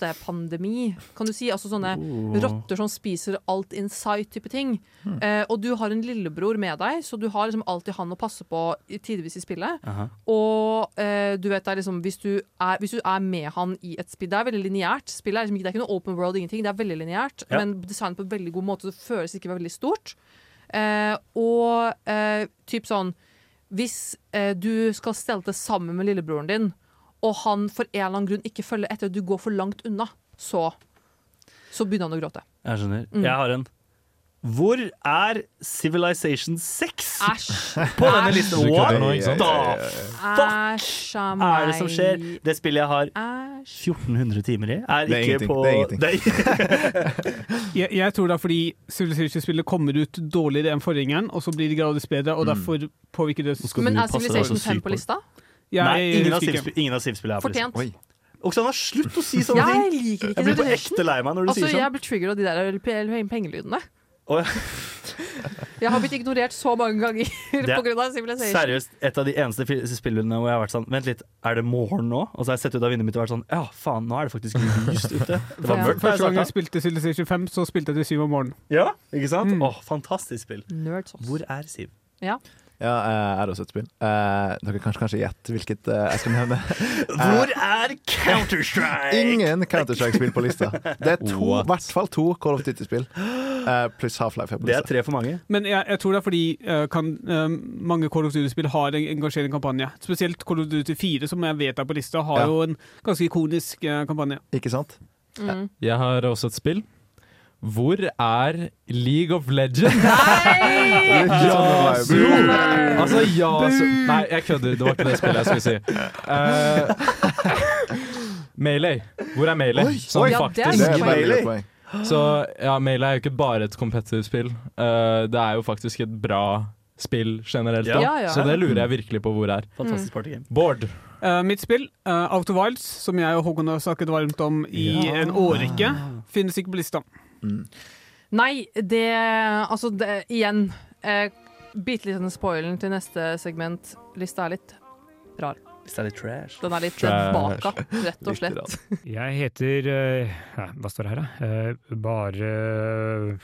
[SPEAKER 3] rottepandemi, kan du si. Altså sånne
[SPEAKER 8] Oh.
[SPEAKER 3] rotter som spiser alt in sight-type ting.
[SPEAKER 8] Hmm.
[SPEAKER 3] Eh, og du har en lillebror med deg, så du har liksom alltid han å passe på i- tidvis i spillet.
[SPEAKER 8] Aha.
[SPEAKER 3] Og eh, du vet det er liksom hvis du, er, hvis du er med han i et spill Det er veldig lineært. Spillet er liksom ikke, det er ikke noe open world, ingenting. Det er veldig lineært,
[SPEAKER 8] Ja.
[SPEAKER 3] men designet på en veldig god måte. så Det føles ikke veldig stort. Eh, og eh, typ sånn Hvis eh, du skal stelte sammen med lillebroren din, og han for en eller annen grunn ikke følger etter, og du går for langt unna, så, så begynner han å gråte.
[SPEAKER 8] Jeg skjønner.
[SPEAKER 3] Mm.
[SPEAKER 8] Jeg har en. Hvor er Civilization 6
[SPEAKER 3] Æsj!
[SPEAKER 8] på denne listen?
[SPEAKER 4] Du kødder nå, ikke
[SPEAKER 8] What
[SPEAKER 4] sant?
[SPEAKER 8] the
[SPEAKER 3] Æsj a meg.
[SPEAKER 8] er det som skjer? Det spillet jeg har
[SPEAKER 3] Æsj.
[SPEAKER 8] 1400 timer i, er
[SPEAKER 7] Det er
[SPEAKER 8] ikke
[SPEAKER 7] ingenting,
[SPEAKER 8] på
[SPEAKER 7] det er ingenting.
[SPEAKER 8] Det
[SPEAKER 6] Jeg, jeg tror det er fordi Civilization-spillet kommer ut dårligere enn forgjengeren, og så blir det gradvis bedre, og derfor påvirker det
[SPEAKER 8] Mm. skal
[SPEAKER 3] Men altså,
[SPEAKER 8] du
[SPEAKER 3] er
[SPEAKER 8] passe deg så
[SPEAKER 3] Civilization 5
[SPEAKER 8] sykt på.
[SPEAKER 3] på lista?
[SPEAKER 6] Jeg
[SPEAKER 8] Nei, ingen av
[SPEAKER 6] husker ikke.
[SPEAKER 8] Siv-spill- ingen av Siv-spillene er på listen.
[SPEAKER 3] Fortjent.
[SPEAKER 7] Oi.
[SPEAKER 8] Oksana, slutt å si sånne ting!
[SPEAKER 3] Jeg liker ikke
[SPEAKER 8] Jeg blir på
[SPEAKER 3] Civilization.
[SPEAKER 8] ekte lei meg når du
[SPEAKER 3] Altså,
[SPEAKER 8] sier sånn.
[SPEAKER 3] jeg blir triggered av de der LP eller pengelydene.
[SPEAKER 8] Å, ja.
[SPEAKER 3] Jeg har blitt ignorert så mange ganger
[SPEAKER 8] Det-
[SPEAKER 3] pga. Civilization.
[SPEAKER 8] Seriøst, et av de eneste fil- spillene hvor jeg har vært sånn Vent litt, er det morgen nå? Og så har jeg sett ut av vinduet mitt og vært sånn Ja, faen, nå er det faktisk lyst ute. Det var
[SPEAKER 3] Ja.
[SPEAKER 8] mørkt da jeg
[SPEAKER 6] Første gang jeg
[SPEAKER 8] startet.
[SPEAKER 6] spilte Civilization 5, så spilte jeg til syv om morgenen.
[SPEAKER 8] Ja, ikke sant?
[SPEAKER 6] Mm.
[SPEAKER 8] Åh, fantastisk spill.
[SPEAKER 3] Nerds. ass.
[SPEAKER 8] Hvor er Siv?
[SPEAKER 7] Ja, eh, er også et spill. Eh, dere kan kanskje gjette hvilket eh, jeg skal nevne.
[SPEAKER 8] Hvor er Counter-Strike?
[SPEAKER 7] Ingen Counter-Strike-spill på lista. Det er to, i
[SPEAKER 4] What?
[SPEAKER 7] hvert fall to Call of Duty-spill. Eh, pluss Half-Life er på
[SPEAKER 8] Det er
[SPEAKER 7] lista.
[SPEAKER 8] tre for mange.
[SPEAKER 6] Men jeg, jeg tror det er fordi eh, kan, eh, mange Call of Duty-spill har en engasjerende kampanje. Spesielt Call of Duty 4, som jeg vet er på lista, har
[SPEAKER 7] Ja.
[SPEAKER 6] jo en ganske ikonisk eh, kampanje.
[SPEAKER 7] Ikke sant?
[SPEAKER 3] Mm.
[SPEAKER 4] Jeg har også et spill. Hvor er League of Legends?
[SPEAKER 3] Nei!
[SPEAKER 4] Ja,
[SPEAKER 7] Sånn
[SPEAKER 4] så-
[SPEAKER 7] vibe.
[SPEAKER 4] Altså, ja så, Nei, jeg kødder. Det var ikke det spillet jeg skulle si. Uh, Melee. Hvor er Melee?
[SPEAKER 7] Oi,
[SPEAKER 4] Sånn
[SPEAKER 7] oi.
[SPEAKER 3] Ja, det er
[SPEAKER 7] Det
[SPEAKER 4] faktisk.
[SPEAKER 7] er et veldig
[SPEAKER 8] Melee.
[SPEAKER 7] godt poeng.
[SPEAKER 4] Så ja, Melee er jo ikke bare et competitive spill. Eh, det er jo faktisk et bra spill generelt.
[SPEAKER 8] Ja.
[SPEAKER 4] da.
[SPEAKER 3] Ja, ja.
[SPEAKER 4] Så det lurer jeg virkelig på hvor er.
[SPEAKER 8] Fantastisk partygame.
[SPEAKER 4] Bård.
[SPEAKER 6] Eh, mitt spill, eh, Out of Wilds, som jeg og Håkon har snakket varmt om i en årrekke, finnes ikke på lista.
[SPEAKER 7] Mm.
[SPEAKER 3] Nei, det Altså, det, igjen eh, Bitte liten spoilen til neste segment. Lista er litt
[SPEAKER 8] Hvis det er litt trash.
[SPEAKER 3] Den er litt
[SPEAKER 4] Trash.
[SPEAKER 3] baka, rett og slett.
[SPEAKER 10] Jeg heter eh, ja, Hva står det her, da? Eh, Bare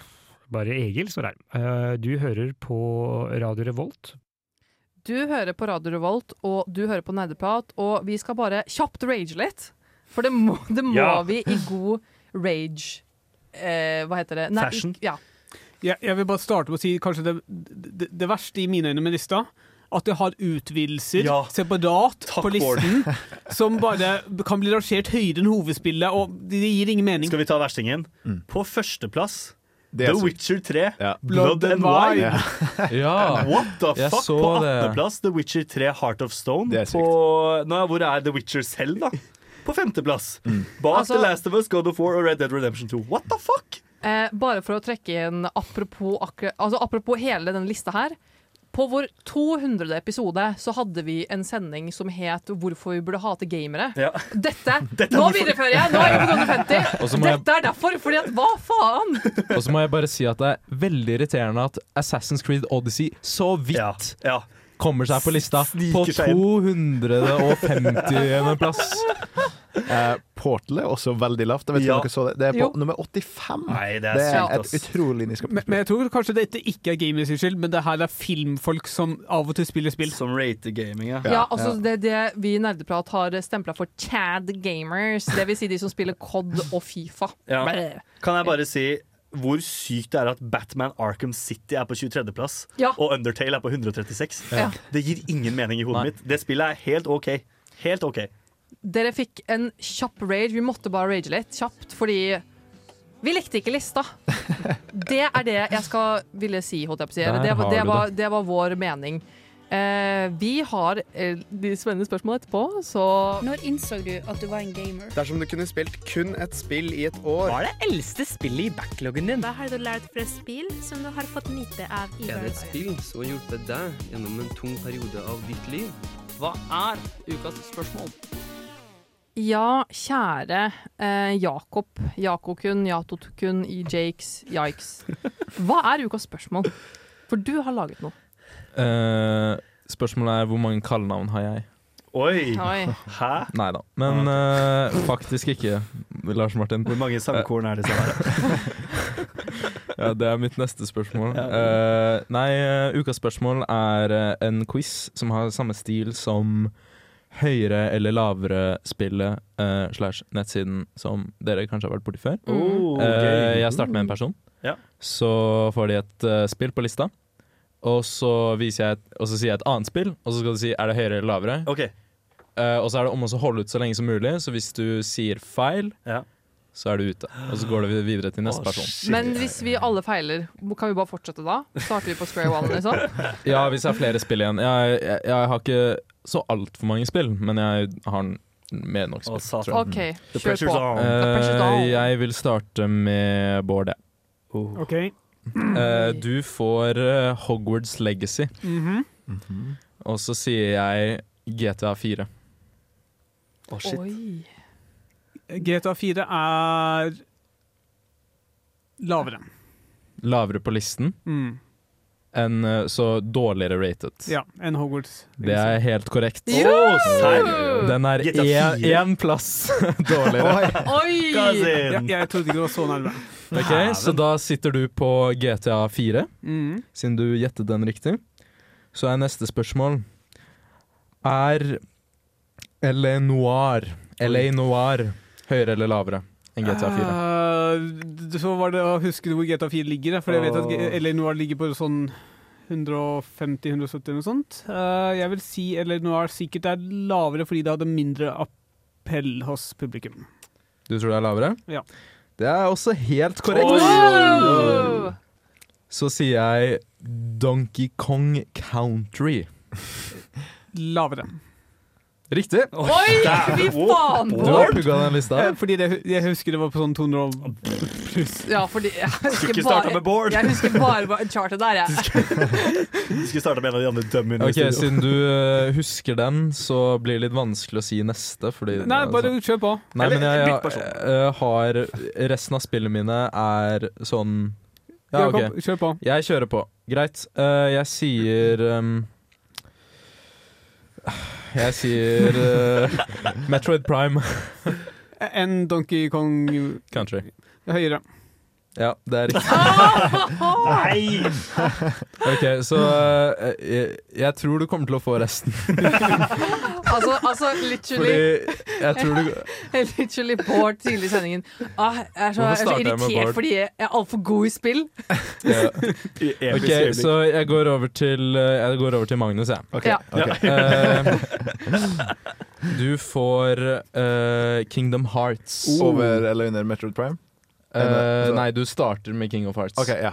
[SPEAKER 10] Bare Egil står det her. Eh, Du hører på Radio Revolt.
[SPEAKER 3] Du hører på Radio Revolt, og du hører på Nerdeprat, og vi skal bare kjapt rage litt. For det må, det må
[SPEAKER 10] Ja.
[SPEAKER 3] vi i god rage eh, Hva heter det?
[SPEAKER 8] Fashion.
[SPEAKER 3] Ja.
[SPEAKER 6] Jeg, jeg vil bare starte med å si kanskje det, det, det verste i mine øyne med lista. At det har utvidelser
[SPEAKER 8] Ja.
[SPEAKER 6] separat
[SPEAKER 8] Takk,
[SPEAKER 6] på listen som bare kan bli rangert høyere enn hovedspillet, og det gir ingen mening.
[SPEAKER 8] Skal vi ta verstingen?
[SPEAKER 7] Mm.
[SPEAKER 8] På førsteplass,
[SPEAKER 7] Det
[SPEAKER 8] The
[SPEAKER 7] er sykt.
[SPEAKER 8] Witcher 3.
[SPEAKER 7] Ja.
[SPEAKER 8] Blood and Wine.
[SPEAKER 7] Ja.
[SPEAKER 4] Ja.
[SPEAKER 8] What the
[SPEAKER 4] Jeg
[SPEAKER 8] fuck?
[SPEAKER 4] så
[SPEAKER 8] På
[SPEAKER 4] det.
[SPEAKER 8] 18.plass, The Witcher 3 Heart of Stone.
[SPEAKER 7] Det er sykt.
[SPEAKER 8] På, nå, ja, hvor er The Witcher selv, da? På femteplass. Bak
[SPEAKER 3] Altså-
[SPEAKER 8] The Last of Us, God of War og Red Dead Redemption 2. What the fuck?
[SPEAKER 3] Eh, bare for å trekke inn apropos, akkurat- altså, apropos hele denne lista her. På vår 200. episode så hadde vi en sending som het 'Hvorfor vi burde hate gamere'.
[SPEAKER 8] Ja.
[SPEAKER 3] Dette,
[SPEAKER 8] Dette er
[SPEAKER 3] Nå
[SPEAKER 8] hvorfor-
[SPEAKER 3] viderefører jeg! Nå er jeg på Donny 50.
[SPEAKER 4] Og så må jeg-
[SPEAKER 3] Dette er derfor! Fordi at hva faen?
[SPEAKER 4] Og så må jeg bare si at det er veldig irriterende at Assassin's Creed Odyssey så
[SPEAKER 8] Ja,
[SPEAKER 4] vidt
[SPEAKER 8] ja.
[SPEAKER 4] kommer seg på lista på
[SPEAKER 8] Sniker seg inn.
[SPEAKER 4] 250. plass.
[SPEAKER 7] Eh, Portal er også veldig lavt. Jeg vet ikke
[SPEAKER 8] Ja.
[SPEAKER 7] om dere så det. det er på
[SPEAKER 3] Jo.
[SPEAKER 7] nummer 85.
[SPEAKER 8] Nei, det er
[SPEAKER 7] Det
[SPEAKER 8] sykt,
[SPEAKER 7] er
[SPEAKER 8] ass.
[SPEAKER 7] et utrolig niskapet
[SPEAKER 6] Men, men jeg tror kanskje dette ikke er gamers sin skyld, men det her er filmfolk som av og til spiller spill.
[SPEAKER 8] Som rater gaming, ja.
[SPEAKER 3] Ja, altså Det, er det vi i Nerdeprat har stempla for Chad Gamers. Det vil si de som spiller COD og Fifa.
[SPEAKER 8] Ja.
[SPEAKER 3] Blæh.
[SPEAKER 8] Kan jeg bare si hvor sykt det er at Batman Arkham City er på 23.plass,
[SPEAKER 3] Ja.
[SPEAKER 8] og Undertale er på 136.
[SPEAKER 3] Ja.
[SPEAKER 8] Det gir ingen mening i hodet
[SPEAKER 4] Nei.
[SPEAKER 8] mitt. Det spillet er helt OK. Helt OK.
[SPEAKER 3] Dere fikk en kjapp rage. Vi måtte bare rage litt kjapt, fordi vi likte ikke lista. Det er det jeg skal ville si, holdt jeg på å si. Eller
[SPEAKER 4] Der
[SPEAKER 3] Det, var-
[SPEAKER 4] har
[SPEAKER 3] det,
[SPEAKER 4] du
[SPEAKER 3] var, det var vår mening. Eh, vi har eh, de spennende spørsmålene etterpå, så
[SPEAKER 11] Når innså du at du var en gamer?
[SPEAKER 5] Dersom du kunne spilt kun et spill i et år
[SPEAKER 12] Hva er det eldste spillet i backloggen din?
[SPEAKER 11] Hva har du lært fra spill som du har fått nytte av i
[SPEAKER 12] Er
[SPEAKER 11] hverdagen?
[SPEAKER 12] det et spill som har hjulpet deg gjennom en tung periode av ditt liv? Hva er ukas spørsmål?
[SPEAKER 3] Ja, kjære eh, Jakob, Jakokun, Jatotokun, Jakes, Yikes. Hva er ukas spørsmål? For du har laget noe.
[SPEAKER 4] Eh, spørsmålet er hvor mange kallenavn har jeg?
[SPEAKER 8] Oi!
[SPEAKER 3] Oi.
[SPEAKER 8] Hæ?
[SPEAKER 4] Nei da. Men eh, faktisk ikke, Lars Martin.
[SPEAKER 8] Hvor mange sangkorn er det som er
[SPEAKER 4] Ja, Det er mitt neste spørsmål. Eh, nei, eh, ukas spørsmål er eh, en quiz som har samme stil som høyere eller lavere spillet eh, slash nettsiden som dere kanskje har vært borti før.
[SPEAKER 3] Mm.
[SPEAKER 8] Oh,
[SPEAKER 4] Eh,
[SPEAKER 8] gøy.
[SPEAKER 4] jeg starter med en person.
[SPEAKER 8] Ja.
[SPEAKER 4] Så får de et eh, spill på lista. Og så, viser jeg et, og så sier jeg et annet spill, og så skal de si er det høyere eller lavere.
[SPEAKER 8] OK.
[SPEAKER 4] Eh, og så er det om å så holde ut så lenge som mulig, så hvis du sier feil, så er du ute. Og så går det videre til neste person.
[SPEAKER 3] Men hvis vi alle feiler, kan vi bare fortsette da? Starter vi på square one, liksom?
[SPEAKER 4] Ja, hvis jeg har flere spill igjen. Jeg, jeg, jeg har ikke så altfor mange spill, men jeg har n- mer enn nok spill.
[SPEAKER 8] satan.
[SPEAKER 4] tror jeg.
[SPEAKER 3] Ok, Mm. The kjør pressure's på. on.
[SPEAKER 4] Eh,
[SPEAKER 3] The pressure's on.
[SPEAKER 4] jeg vil starte med Bård, jeg.
[SPEAKER 6] Ok.
[SPEAKER 4] Eh, du får eh, Hogwarts Legacy,
[SPEAKER 6] Mhm.
[SPEAKER 4] og så sier jeg GTA 4.
[SPEAKER 8] Å,
[SPEAKER 3] Oi.
[SPEAKER 6] GTA 4 er lavere.
[SPEAKER 4] Lavere på listen
[SPEAKER 6] Mm.
[SPEAKER 4] enn eh, så dårligere rated.
[SPEAKER 6] Ja, enn Hogwarts.
[SPEAKER 4] Det er helt korrekt.
[SPEAKER 6] Jo! Å, serr?
[SPEAKER 4] Den er
[SPEAKER 6] GTA
[SPEAKER 4] én-
[SPEAKER 6] 4.
[SPEAKER 4] én plass dårligere.
[SPEAKER 3] Oi!
[SPEAKER 6] Ja, jeg trodde ikke det var så nærme.
[SPEAKER 4] Ok, Så da sitter du på GTA 4,
[SPEAKER 6] Mhm.
[SPEAKER 4] siden du gjettet den riktig. Så er neste spørsmål Er LA Noir, LA Noir høyere eller lavere enn GTA 4?
[SPEAKER 6] Eh, så var det å huske hvor GTA 4 ligger, for jeg vet at
[SPEAKER 4] Åh.
[SPEAKER 6] G- LA Noir ligger på sånn 150-170 eller noe sånt. Eh, jeg vil si LA Noir sikkert er lavere fordi det hadde mindre appell hos publikum.
[SPEAKER 4] Du tror det er lavere?
[SPEAKER 6] Eh. Ja.
[SPEAKER 4] Det er også helt korrekt.
[SPEAKER 6] Oi, oi, oi.
[SPEAKER 4] Så sier jeg Donkey Kong Country.
[SPEAKER 6] Lavere.
[SPEAKER 4] Riktig.
[SPEAKER 6] Oi, fy faen,
[SPEAKER 4] Du har pugga den lista.
[SPEAKER 6] Eh, Fordi det, jeg husker det var på sånn 200 og pluss.
[SPEAKER 3] Ja, fordi jeg
[SPEAKER 8] Skulle
[SPEAKER 3] husker
[SPEAKER 8] ikke starta med
[SPEAKER 3] bare,
[SPEAKER 8] Bård.
[SPEAKER 3] jeg husker bare hva- chartet der, jeg.
[SPEAKER 8] Du skulle starta med en av de andre dømmene. i
[SPEAKER 4] Ok,
[SPEAKER 8] studio.
[SPEAKER 4] Siden du eh, husker den, så blir det litt vanskelig å si neste. Fordi,
[SPEAKER 6] Nei, bare
[SPEAKER 4] altså-
[SPEAKER 6] kjør på.
[SPEAKER 4] Nei, men jeg,
[SPEAKER 6] Bytt person.
[SPEAKER 4] eh, har Resten av spillene mine er sånn Ja,
[SPEAKER 6] Jakob,
[SPEAKER 4] ok.
[SPEAKER 6] kjør på.
[SPEAKER 4] Jeg kjører på. Greit. Eh, jeg sier ehm, Jeg sier eh, Metroid Prime.
[SPEAKER 6] Enn Donkey Kong
[SPEAKER 4] Country.
[SPEAKER 6] høyere.
[SPEAKER 4] Ja, det er riktig.
[SPEAKER 6] Nei!
[SPEAKER 4] Ok, så eh, jeg, jeg tror du kommer til å få resten.
[SPEAKER 3] Altså, altså literally
[SPEAKER 4] Fordi jeg tror du-
[SPEAKER 3] Literally Bård tidlig i sendingen. Ah, jeg er så, jeg er
[SPEAKER 4] Hvorfor
[SPEAKER 3] så
[SPEAKER 4] starter jeg med
[SPEAKER 3] irritert
[SPEAKER 4] Bård?
[SPEAKER 3] fordi jeg er altfor god i spill.
[SPEAKER 4] Ja.
[SPEAKER 8] episk
[SPEAKER 4] Ok,
[SPEAKER 8] øyeblikk.
[SPEAKER 4] så jeg går over til eh, Jeg går over til Magnus, jeg.
[SPEAKER 8] Ok, Ja. ok.
[SPEAKER 4] Eh, du får eh, Kingdom Hearts.
[SPEAKER 7] Oh. Over eller under Metroid Prime?
[SPEAKER 4] Eh,
[SPEAKER 7] Eller-
[SPEAKER 4] nei, du starter med King of Hearts.
[SPEAKER 7] Ok, ja.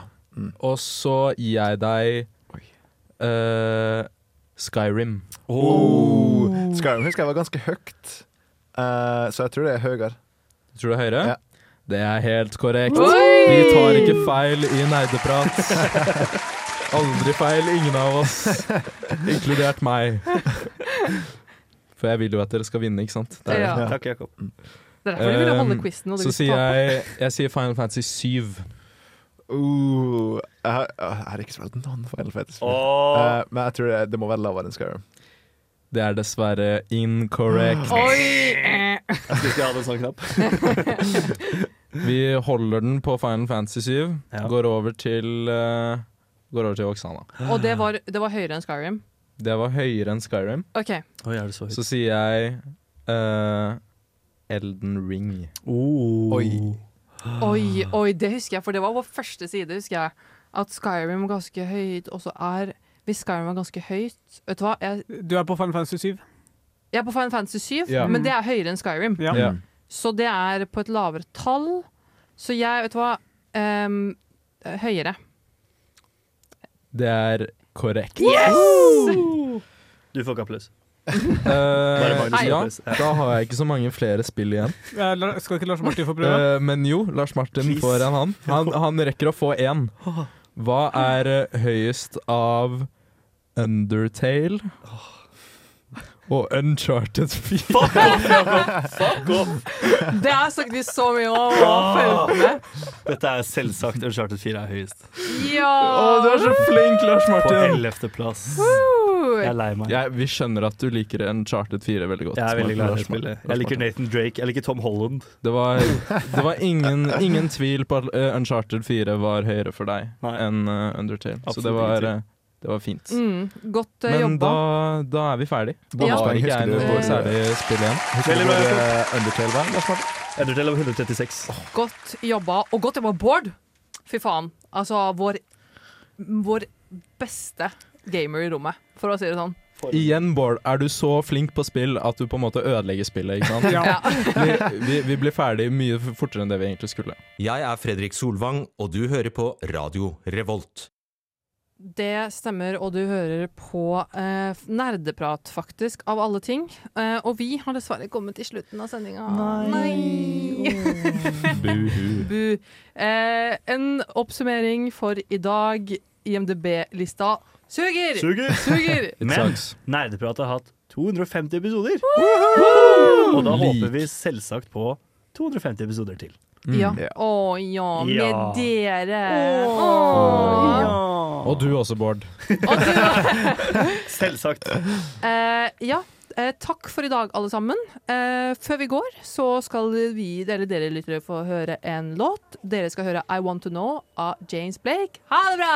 [SPEAKER 4] Og så gir jeg deg eh, Skyrim.
[SPEAKER 7] Oh. Skyrim husker jeg var ganske høyt, Eh, så jeg tror det er høyere.
[SPEAKER 4] Du tror det er høyere?
[SPEAKER 7] Ja.
[SPEAKER 4] Det er helt korrekt.
[SPEAKER 7] Oi!
[SPEAKER 4] Vi tar ikke feil i nerdeprat. Aldri feil, ingen av oss. Inkludert meg. For jeg vil jo at dere skal vinne, ikke sant? Det er-
[SPEAKER 3] Ja.
[SPEAKER 8] Takk, Jakob.
[SPEAKER 3] Det er derfor du ville holde
[SPEAKER 4] Um,
[SPEAKER 3] quizen, og du
[SPEAKER 4] Så
[SPEAKER 3] vil
[SPEAKER 4] sier
[SPEAKER 3] tape.
[SPEAKER 4] jeg, jeg sier Final Fantasy 7.
[SPEAKER 7] Uh, jeg, har, jeg har ikke spilt noen Final Fantasy.
[SPEAKER 4] Åh.
[SPEAKER 7] Eh, men jeg tror det, det må være lavere enn Skyrim.
[SPEAKER 4] Det er dessverre incorrect.
[SPEAKER 3] Oi! eh.
[SPEAKER 4] Eh.
[SPEAKER 8] Jeg skulle ikke hatt en sånn knapp.
[SPEAKER 4] Vi holder den på Final Fantasy 7. Går over til eh, Går over til Oksana.
[SPEAKER 3] Og det var, det var høyere enn Skyrim.
[SPEAKER 4] Det var høyere enn Skyrim.
[SPEAKER 3] OK.
[SPEAKER 8] så høyt?
[SPEAKER 4] sier jeg eh, Elden Ring.
[SPEAKER 8] Oi.
[SPEAKER 3] Oi, oi, det husker jeg, for det var vår første side, husker jeg. At Skyrim var ganske høyt, og så er Hvis Skyrim var ganske høyt Vet du hva, jeg,
[SPEAKER 6] Du er på Final Fantasy 7.
[SPEAKER 3] jeg er på Final Fantasy 7,
[SPEAKER 6] Ja.
[SPEAKER 3] men det er høyere enn Skyrim.
[SPEAKER 6] Ja. Ja.
[SPEAKER 3] Så det er på et lavere tall. Så jeg, vet du hva em, eh, Høyere.
[SPEAKER 4] Det er korrekt.
[SPEAKER 8] Du får ikke applaus.
[SPEAKER 4] Eh,
[SPEAKER 8] Bare Magnus
[SPEAKER 4] ja,
[SPEAKER 8] Løpes. Ja.
[SPEAKER 4] da har jeg ikke så mange flere spill igjen.
[SPEAKER 6] Ja, Eh, la- skal ikke Lars Martin få prøve?
[SPEAKER 4] Eh, men jo, Lars Martin
[SPEAKER 6] Please.
[SPEAKER 4] får en, han. han. Han rekker å få én. Hva er eh, høyest av Undertale og Uncharted 4?
[SPEAKER 8] Fuck off!
[SPEAKER 3] Det har jeg sagt vi så mye om!
[SPEAKER 4] Ah.
[SPEAKER 3] og følte med.
[SPEAKER 8] Dette er selvsagt Uncharted 4 er høyest.
[SPEAKER 3] Ja!
[SPEAKER 4] Å, du er så flink, Lars
[SPEAKER 8] På
[SPEAKER 4] Martin!
[SPEAKER 8] ellevteplass.
[SPEAKER 3] Woo!
[SPEAKER 8] Jeg er lei meg.
[SPEAKER 4] Jeg- vi skjønner at du liker Uncharted 4 veldig godt.
[SPEAKER 8] Jeg er veldig glad i det
[SPEAKER 4] Lars Martin.
[SPEAKER 8] spillet.
[SPEAKER 4] Lars
[SPEAKER 8] Jeg liker
[SPEAKER 4] Martin.
[SPEAKER 8] Nathan Drake, jeg liker Tom Holland.
[SPEAKER 4] Det var, det var ingen, ingen tvil på at eh, Uncharted 4 var høyere for deg enn eh, Undertale. så
[SPEAKER 8] Absolutt
[SPEAKER 4] det var,
[SPEAKER 8] ingen tvil.
[SPEAKER 4] eh, det var fint.
[SPEAKER 3] Mm, godt eh,
[SPEAKER 4] Men
[SPEAKER 3] jobba.
[SPEAKER 4] da, da er vi ferdig. Da
[SPEAKER 3] Ja.
[SPEAKER 4] har ikke
[SPEAKER 7] Husker
[SPEAKER 4] jeg
[SPEAKER 7] du
[SPEAKER 4] noe
[SPEAKER 7] hvor-
[SPEAKER 4] særlig spill igjen.
[SPEAKER 7] Husker du
[SPEAKER 8] Veldig
[SPEAKER 7] hvor
[SPEAKER 8] bra,
[SPEAKER 7] eh, Undertale var? Lars Martin?
[SPEAKER 8] Undertale av 136.
[SPEAKER 3] Godt jobba, og godt jobba, Bård! Fy faen. Altså, vår, vår beste gamer i rommet, for å si det sånn.
[SPEAKER 4] Igjen, Bård, er du så flink på spill at du på en måte ødelegger spillet, ikke sant?
[SPEAKER 13] Ja.
[SPEAKER 4] vi, vi, vi blir ferdig mye fortere enn det vi egentlig skulle.
[SPEAKER 13] Jeg er Fredrik Solvang, og du hører på Radio Revolt.
[SPEAKER 3] Det stemmer, og du hører på eh, nerdeprat, faktisk, av alle ting. Eh, og vi har dessverre kommet til slutten av sendinga. Nei!
[SPEAKER 4] Buhu.
[SPEAKER 3] Bu. Eh, en oppsummering for i dag. IMDb-lista suger!
[SPEAKER 8] Suger!
[SPEAKER 3] Suger!
[SPEAKER 8] Men Nerdeprat har hatt 250 episoder.
[SPEAKER 4] Eh.
[SPEAKER 8] Og da håper vi selvsagt på 250 episoder til.
[SPEAKER 3] Mm. Ja. Å ja, med
[SPEAKER 8] Ja.
[SPEAKER 3] dere. Åh.
[SPEAKER 4] Og du også, Bård.
[SPEAKER 8] Selvsagt.
[SPEAKER 3] Eh, ja, eh, takk for i dag, alle sammen. Eh, før vi går, så skal vi, eller dere lyttere, få høre en låt. Dere skal høre I Want To Know av James Blake. Ha det bra!